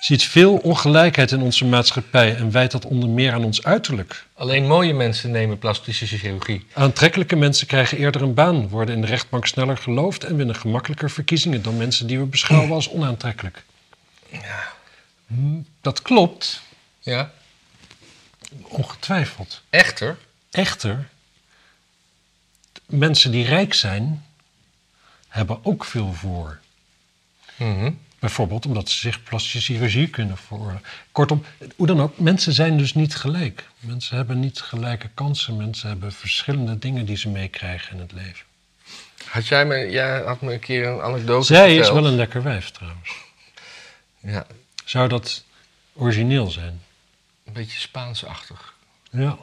Ziet veel ongelijkheid in onze maatschappij en wijt dat onder meer aan ons uiterlijk. Alleen mooie mensen nemen plastische chirurgie. Aantrekkelijke mensen krijgen eerder een baan, worden in de rechtbank sneller geloofd en winnen gemakkelijker verkiezingen dan mensen die we beschouwen als onaantrekkelijk. Hm, Dat klopt, Ja. ongetwijfeld. Echter. Echter, t- mensen die rijk zijn, hebben ook veel voor. Mhm. Bijvoorbeeld omdat ze zich plastische chirurgie kunnen voor. Kortom, hoe dan ook, mensen zijn dus niet gelijk. Mensen hebben niet gelijke kansen. Mensen hebben verschillende dingen die ze meekrijgen in het leven. Had jij me, jij had me een keer een anekdote Zij is verteld. wel een lekker wijf trouwens. Ja, Zou dat origineel zijn? een beetje Spaansachtig. Ja.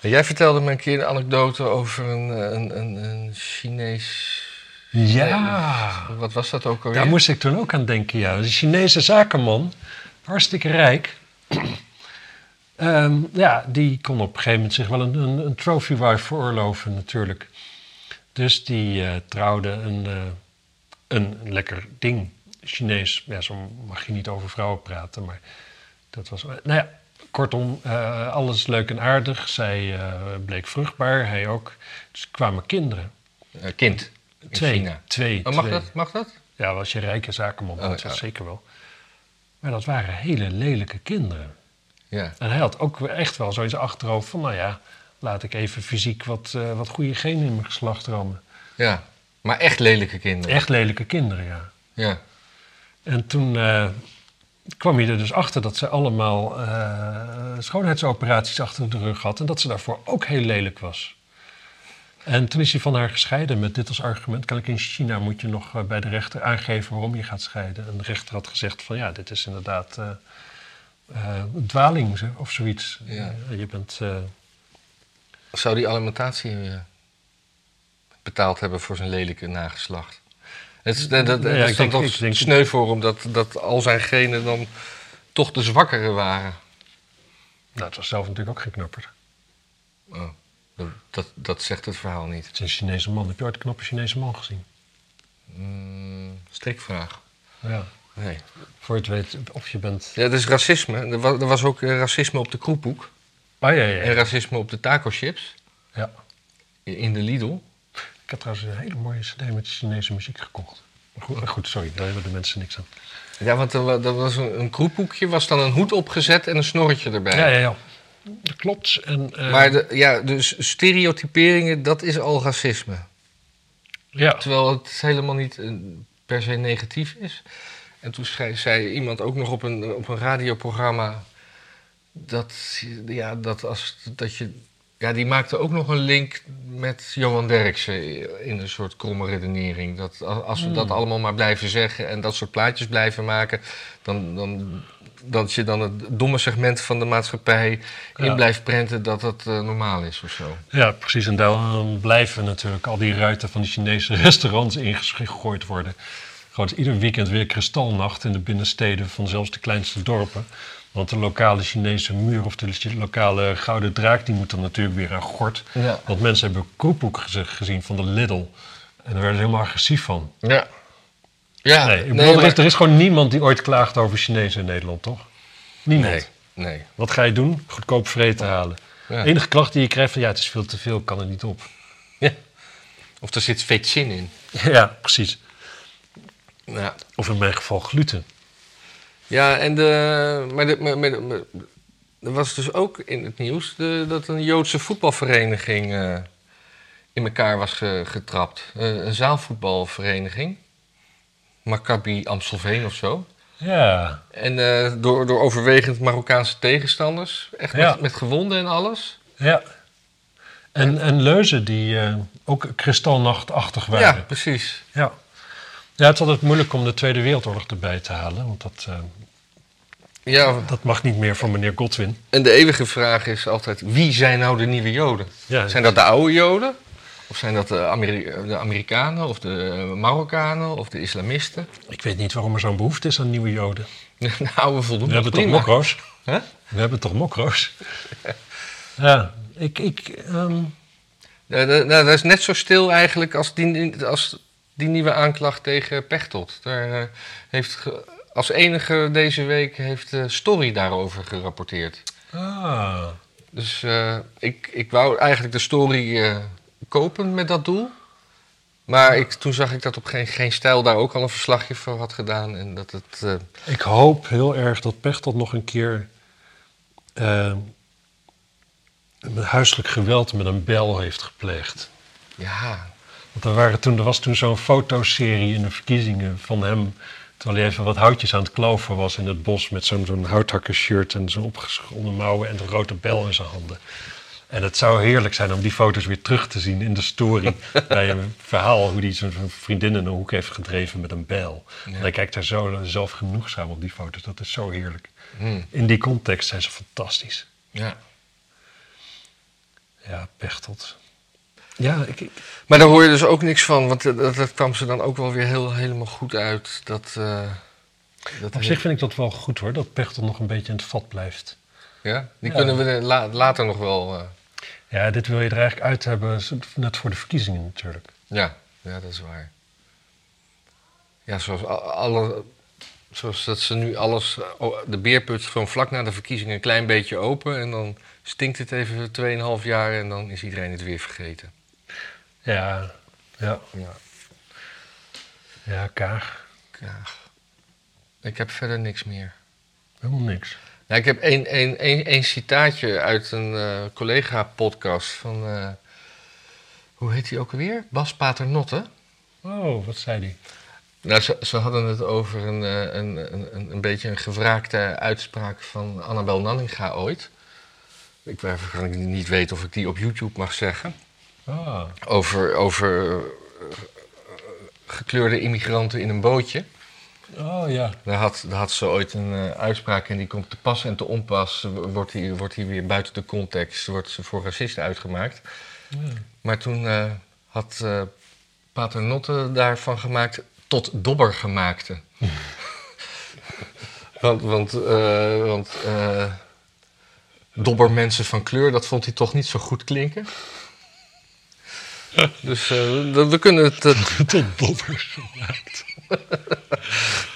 Jij vertelde me een keer een anekdote over een, eh, een, een, een Chinees. Ja. Wat was dat ook alweer? Daar moest ik toen ook aan denken, ja. Een Chinese zakenman, hartstikke rijk. Ehm, ja, die kon op een gegeven moment zich wel een, een, een trophy wife veroorloven natuurlijk. Dus die eh, trouwde een, eh, een lekker ding. Chinees, ja, zo mag je niet over vrouwen praten, maar dat was... Nou ja, kortom, eh, alles leuk en aardig. Zij eh, bleek vruchtbaar, hij ook. Dus er kwamen kinderen. Eh, kind. In Twee. China. Twee. Oh, mag twee. dat? Mag dat? Ja, als je rijke zakenman bent, Oh, ja. dat zeker wel. Maar dat waren hele lelijke kinderen. Ja. En hij had ook echt wel zoiets achterhoofd van... nou ja, laat ik even fysiek wat, eh, wat goede genen in mijn geslacht rammen. ja. Maar echt lelijke kinderen. Echt lelijke kinderen, ja. Ja. En toen eh, kwam hij er dus achter dat ze allemaal eh, schoonheidsoperaties achter de rug had... en dat ze daarvoor ook heel lelijk was. En toen is hij van haar gescheiden met dit als argument. Kan ik in China moet je nog eh, bij de rechter aangeven waarom je gaat scheiden. En de rechter had gezegd van ja, dit is inderdaad eh, eh, een dwaling zo- of zoiets. Ja. Eh, je bent... eh, Zou die alimentatie eh, betaald hebben voor zijn lelijke nageslacht? Het is, dat, dat, Nou ja, dat ik is dan denk- toch ik denk- sneu voor hem dat, dat al zijn genen dan toch de zwakkere waren. nou, het was zelf natuurlijk ook geen knapper. Oh, dat, dat, dat zegt het verhaal niet. Het is een Chinese man. Heb je ooit een knappe Chinese man gezien? Mm, strikvraag. Ja. Nee. Voor je het weet, of je bent... Ja, dat is racisme. Er was, er was ook eh, racisme op de kroephoek. Ah, ja, ja, En ja. racisme op de taco chips. ja. In de Lidl. Ik heb trouwens een hele mooie cd met Chinese muziek gekocht. Maar goed, maar goed, sorry, daar hebben de mensen niks aan. Ja, want er, wa- er was een, een kroephoekje, was dan een hoed opgezet en een snorretje erbij. Ja, ja, ja. Dat klopt. En, eh, Maar de, ja, dus stereotyperingen, dat is al racisme. ja. Terwijl het helemaal niet eh, per se negatief is. En toen schreef, zei iemand ook nog op een, op een radioprogramma dat, ja, dat, als, dat je. Ja, die maakte ook nog een link met Johan Derksen in een soort kromme redenering. Dat a- als we dat allemaal maar blijven zeggen en dat soort plaatjes blijven maken, dan, dan dat je dan het domme segment van de maatschappij Ja. in blijft prenten dat dat eh, normaal is of zo. Ja, precies. En daarom blijven natuurlijk al die ruiten van de Chinese restaurants ingegooid worden. Gewoon ieder weekend weer kristalnacht in de binnensteden van zelfs de kleinste dorpen. Want de lokale Chinese muur of de chi- lokale gouden draak, die moet dan natuurlijk weer aan gort. Ja. Want mensen hebben koepoek geze- gezien van de Lidl. En daar werden ze helemaal agressief van. Ja. Ja, Nee, ik bedoel, er, is, maar- er is gewoon niemand die ooit klaagt over Chinezen in Nederland, toch? Niemand. Nee, nee. Wat ga je doen? Goedkoop vreten halen. Ja. De enige klacht die je krijgt van ja, het is veel te veel, kan er niet op. Of er zit vetchin in. Ja, precies. Ja, Of in mijn geval gluten. ja en de, maar, de, maar, maar- maar- er was dus ook in het nieuws de- dat een Joodse voetbalvereniging eh, in elkaar was ge- getrapt. Eh, een zaalvoetbalvereniging. Maccabi Amstelveen of zo. Ja, En eh, door, door overwegend Marokkaanse tegenstanders. Echt met, Ja. met gewonden en alles. ja. En, en leuzen die eh, ook kristalnachtachtig Ja, waren. precies. Ja. ja. het is altijd moeilijk om de Tweede Wereldoorlog erbij te halen. Want dat, eh, Ja, dat mag niet meer voor meneer Godwin. en de eeuwige vraag is altijd: wie zijn nou de nieuwe Joden? Ja, Zijn dat de oude Joden? Of zijn dat de, Ameri- de Amerikanen of de eh, Marokkanen of de islamisten? Nou, Ik weet niet waarom er zo'n behoefte is aan nieuwe joden. De oude voldoen We nog hebben toch prima. mokro's? Hè? We hebben toch mokro's? ja, ik... ik ehm, Ja, dat- nou, dat is net zo stil eigenlijk als die, als die nieuwe aanklacht tegen Pechtold. Daar eh, heeft ge- als enige deze week heeft eh, Story daarover gerapporteerd. ah, Dus eh, ik, ik wou eigenlijk de story eh, kopen met dat doel. Maar ik, toen zag ik dat op geen, geen stijl daar ook al een verslagje voor had gedaan. En dat het. eh, ik hoop heel erg dat Pechtold nog een keer... ehm, met huiselijk geweld met een bel heeft gepleegd. ja, Want er, waren toen, er was toen zo'n fotoserie in de verkiezingen van hem... terwijl hij even wat houtjes aan het kloven was in het bos... met zo'n zo'n houthakkershirt en zo'n opgeschonden mouwen... en een rode bel in zijn handen. En het zou heerlijk zijn om die foto's weer terug te zien in de story... bij een verhaal hoe hij zijn zijn vriendin in een hoek heeft gedreven met een bijl. En hij kijkt daar zo zelf genoegzaam op die foto's. Dat is zo heerlijk. Hmm. In die context zijn ze fantastisch. ja. Ja, Pechtold. Ja, ik, ik- Maar daar hoor je dus ook niks van. Want eh, dat, dat kwam ze dan ook wel weer heel, helemaal goed uit. Dat, eh, dat op zich vind ik dat wel goed hoor... dat Pechtold nog een beetje in het vat blijft... Ja, die Ja. kunnen we eh, la- later nog wel. eh, Ja, dit wil je er eigenlijk uit hebben, net voor de verkiezingen natuurlijk. ja. ja, dat is waar. Ja, zoals, a- alle, zoals dat ze nu alles. eh, o- De beerput is gewoon vlak na de verkiezingen een klein beetje open. En dan stinkt het even 2,5 jaar en dan is iedereen het weer vergeten. Ja, ja, Ja, ja, Kaag. Kaag. Ik heb verder niks meer. Helemaal niks. Nou, ik heb één een, een, een citaatje uit een eh, collega-podcast van. eh, hoe heet die ook alweer? Bas Paternotte. Oh, wat zei die? Nou, ze, ze hadden het over een, eh, een, een, een- een beetje een gewraakte uitspraak van Annabel Nanninga ooit. Ik weet even kan ik niet weten of ik die op YouTube mag zeggen. Ah, Over, over eh, gekleurde immigranten in een bootje. oh ja. Daar had, daar had ze ooit een eh, uitspraak en die komt te pas en te onpas. eh, Wordt die, wordt die weer buiten de context, wordt ze voor racist uitgemaakt. Hmm. Maar toen eh, had eh Paternotte daarvan gemaakt tot dobbergemaakte. want want, eh, want eh, dobbermensen van kleur, dat vond hij toch niet zo goed klinken. dus eh, we, we kunnen het... eh, Tot dobber gemaakt.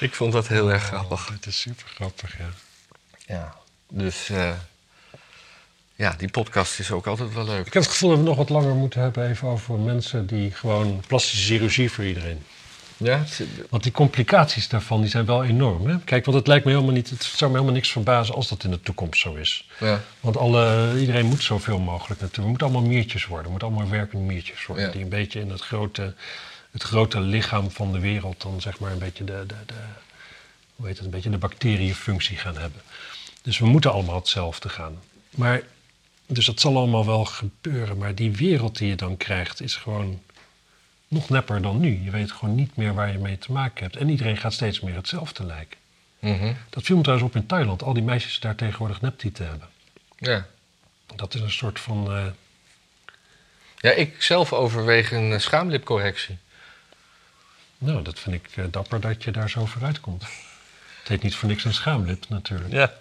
ik vond dat heel erg grappig. Het is super grappig, ja. Ja, dus eh, ja, die podcast is ook altijd wel leuk. Ik heb het gevoel dat we nog wat langer moeten hebben even over mensen die gewoon plastische chirurgie voor iedereen. Ja, het zit- Want die complicaties daarvan die zijn wel enorm. Hè? Kijk, want het lijkt me helemaal niet, het zou me helemaal niks verbazen als dat in de toekomst zo is. ja, Want alle, iedereen moet zoveel mogelijk natuurlijk. We moeten allemaal miertjes worden. We moeten allemaal werkende miertjes worden. Ja. Die een beetje in het grote, het grote lichaam van de wereld dan zeg maar een beetje de, de, de, hoe heet het, een beetje de bacteriënfunctie gaan hebben. Dus we moeten allemaal hetzelfde gaan. Maar, dus dat zal allemaal wel gebeuren. Maar die wereld die je dan krijgt is gewoon nog nepper dan nu. Je weet gewoon niet meer waar je mee te maken hebt. En iedereen gaat steeds meer hetzelfde lijken. Mhm. Dat viel me trouwens op in Thailand. Al die meisjes daar tegenwoordig neptieten hebben. Ja. Dat is een soort van... eh, ja, ik zelf overweeg een eh, schaamlipcorrectie. nou, dat vind ik eh, dapper dat je daar zo vooruit komt. Het heet niet voor niks een schaamlip natuurlijk. Ja.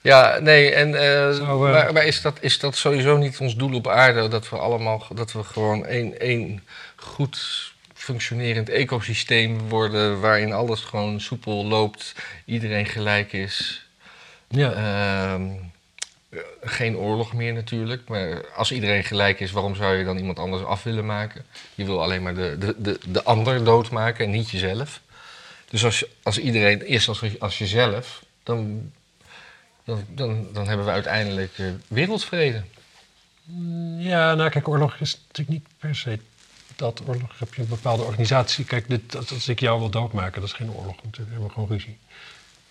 Ja, nee, en eh, Zou, eh, maar, maar is, dat, is dat sowieso niet ons doel op aarde? Dat we allemaal, dat we gewoon één, één goed functionerend ecosysteem worden... waarin alles gewoon soepel loopt, iedereen gelijk is. Ja. Ehm, geen oorlog meer natuurlijk, maar als iedereen gelijk is... waarom zou je dan iemand anders af willen maken? Je wil alleen maar de, de, de, de ander doodmaken en niet jezelf. Dus als, je- als iedereen is als, als jezelf, dan, dan, dan, dan hebben we uiteindelijk eh, wereldvrede. Ja, nou kijk, oorlog is natuurlijk niet per se dat. Oorlog heb je een bepaalde organisatie. Kijk, dit, als, als ik jou wil doodmaken, dat is geen oorlog natuurlijk. We hebben gewoon ruzie.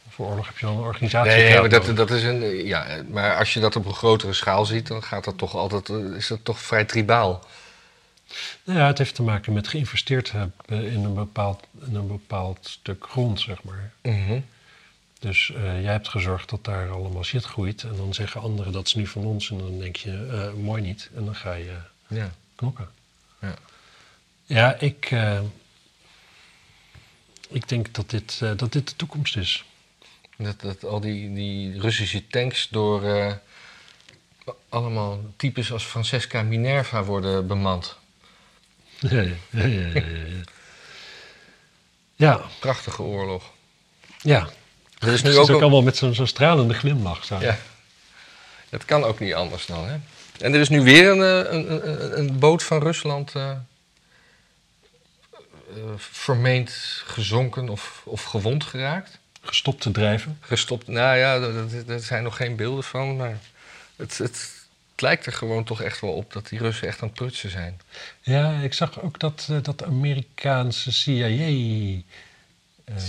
Voor oorlog heb je dan een organisatie. Nee, die jou maar, dat, dood- dat is een, eh, ja, eh, maar als je dat op een grotere schaal ziet, dan gaat dat toch altijd, eh, is dat toch vrij tribaal. Nou Ja, het heeft te maken met geïnvesteerd hebben in een bepaald, in een bepaald stuk grond, zeg maar. Dus eh, jij hebt gezorgd dat daar allemaal shit groeit. En dan zeggen anderen dat is nu van ons. En dan denk je, eh, mooi niet. En dan ga je ja. knokken. Ja. Ja, ik, eh, ik denk dat dit, eh, dat dit de toekomst is. Dat, dat al die, die Russische tanks door eh, allemaal types als Francesca Minerva worden bemand. ja, ja, ja, ja, ja. ja, Prachtige oorlog. ja. Er is Het nu is ook, Dus ook, een- allemaal met zo'n zo'n stralende glimlach. Zo. Ja. Dat kan ook niet anders dan, hè? En er is nu weer een, eh, een, een, een boot van Rusland eh, eh, vermeend gezonken of, of gewond geraakt. Gestopt te drijven. Gestopt. Nou ja, daar- daar zijn nog geen beelden van, maar het, het, het lijkt er gewoon toch echt wel op dat die Russen echt aan het prutsen zijn. Ja, ik zag ook dat, eh, dat Amerikaanse CIA... eh,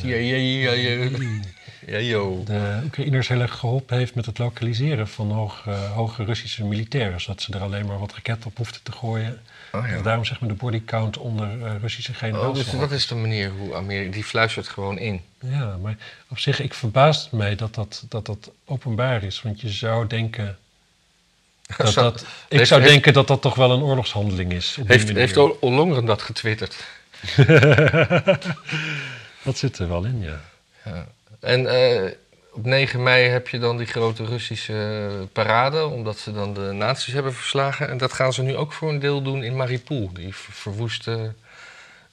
Ja, ja, ja, ja, ja, joh. de Oekraïners heel erg geholpen heeft met het lokaliseren van hoog, eh, hoge Russische militairen. Zodat ze er alleen maar wat raketten op hoefden te gooien. Oh, ja. En daarom zeg maar de bodycount onder eh, Russische Oh, generaals. dus dat is de manier hoe Amerika... Die fluistert gewoon in. Ja, maar op zich, ik verbaas mij dat dat, dat dat openbaar is. Want je zou denken. Dat Zo- dat, ik heeft- zou heeft- denken dat dat toch wel een oorlogshandeling is. Op die Heeft, manier. heeft Ol- Ollongren dat getwitterd? Dat zit er wel in, ja. Ja. En eh, op 9 mei heb je dan die grote Russische parade... omdat ze dan de nazi's hebben verslagen. En dat gaan ze nu ook voor een deel doen in Mariupol. Die ver- verwoeste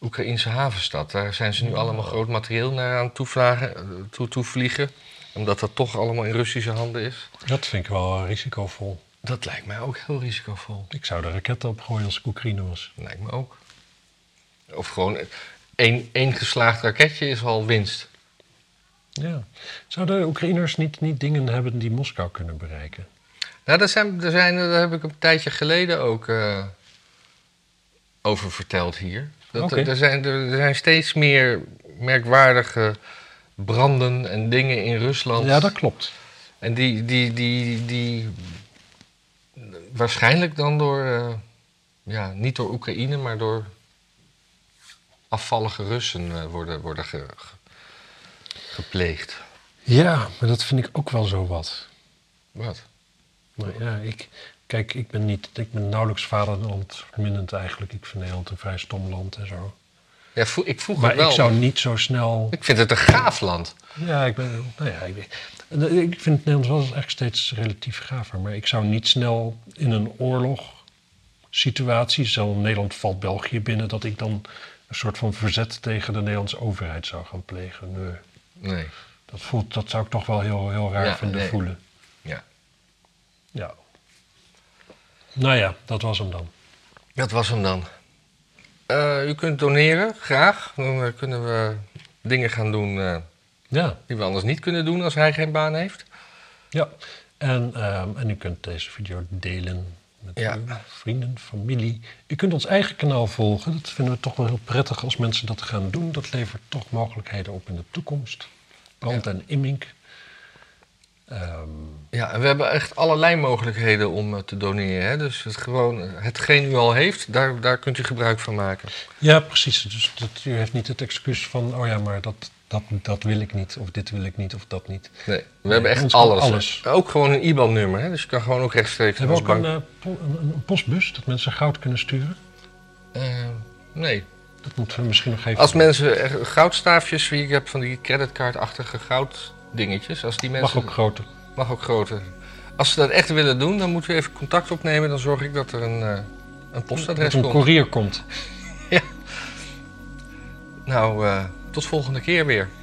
Oekraïnse havenstad. Daar zijn ze nu allemaal groot materieel naar aan toevlagen, eh, toe, toevliegen. Omdat dat toch allemaal in Russische handen is. Dat vind ik wel risicovol. Dat lijkt mij ook heel risicovol. Ik zou de raketten opgooien als ik Oekraïne was. Lijkt me ook. Of gewoon één, één geslaagd raketje is al winst. Ja. Zouden Oekraïners niet, niet dingen hebben die Moskou kunnen bereiken? Nou, daar, zijn, daar, zijn, daar heb ik een tijdje geleden ook eh, over verteld hier. Dat, Oké. er, zijn, er, er zijn steeds meer merkwaardige branden en dingen in Rusland. Ja, dat klopt. En die, die, die, die, waarschijnlijk dan door, eh, ja, niet door Oekraïne, maar door afvallige Russen eh, worden, worden ge- ge- gepleegd. Ja, maar dat vind ik ook wel zo wat. Wat? Nou ja, ik, kijk, ik ben, niet, ik ben nauwelijks vaderlandvermindend eigenlijk. Ik vind Nederland een vrij stom land en zo. Ja, vro- ik vroeg Maar het wel. ik zou niet zo snel. Ik vind het een gaaf land. Ja, ik ben. Nou ja, ik, ben- ik vind het Nederlands wel eigenlijk steeds relatief gaver. Maar ik zou niet snel in een oorlog situatie, zo Nederland valt België binnen, dat ik dan een soort van verzet tegen de Nederlandse overheid zou gaan plegen. Nee, Nee. dat, voelt, dat zou ik toch wel heel, heel raar Ja, vinden nee. voelen. Ja. Ja. Nou ja, dat was hem dan. Dat was hem dan. Eh, u kunt doneren, graag. Dan eh, kunnen we dingen gaan doen eh, Ja. die we anders niet kunnen doen als hij geen baan heeft. Ja, en, ehm, en u kunt deze video delen met Ja. uw vrienden, familie. U kunt ons eigen kanaal volgen. Dat vinden we toch wel heel prettig als mensen dat gaan doen. Dat levert toch mogelijkheden op in de toekomst. Brand en Immink. Ehm, Ja, en we hebben echt allerlei mogelijkheden om eh, te doneren. Hè? Dus het gewoon, eh, hetgeen u al heeft, daar, daar kunt u gebruik van maken. Ja, precies. Dus dat, u heeft niet het excuus van, oh ja, maar dat, dat, dat wil ik niet, of dit wil ik niet, of dat niet. Nee, we Nee, hebben echt ons kan alles. alles. Ook gewoon een IBAN-nummer. hè, Dus je kan gewoon ook rechtstreeks Hebben we ook naar een, ons eh, po- een, een postbus dat mensen goud kunnen sturen? bank. Eh, nee. Dat moeten we misschien nog even. Als mensen echt goudstaafjes, wie ik heb van die creditcardachtige gouddingetjes. Als die Mag mensen, ook groter. mag ook groter. Als ze dat echt willen doen, dan moet u even contact opnemen. Dan zorg ik dat er een, eh, een postadres Dat een komt. courier komt. Nou, eh, tot volgende keer weer.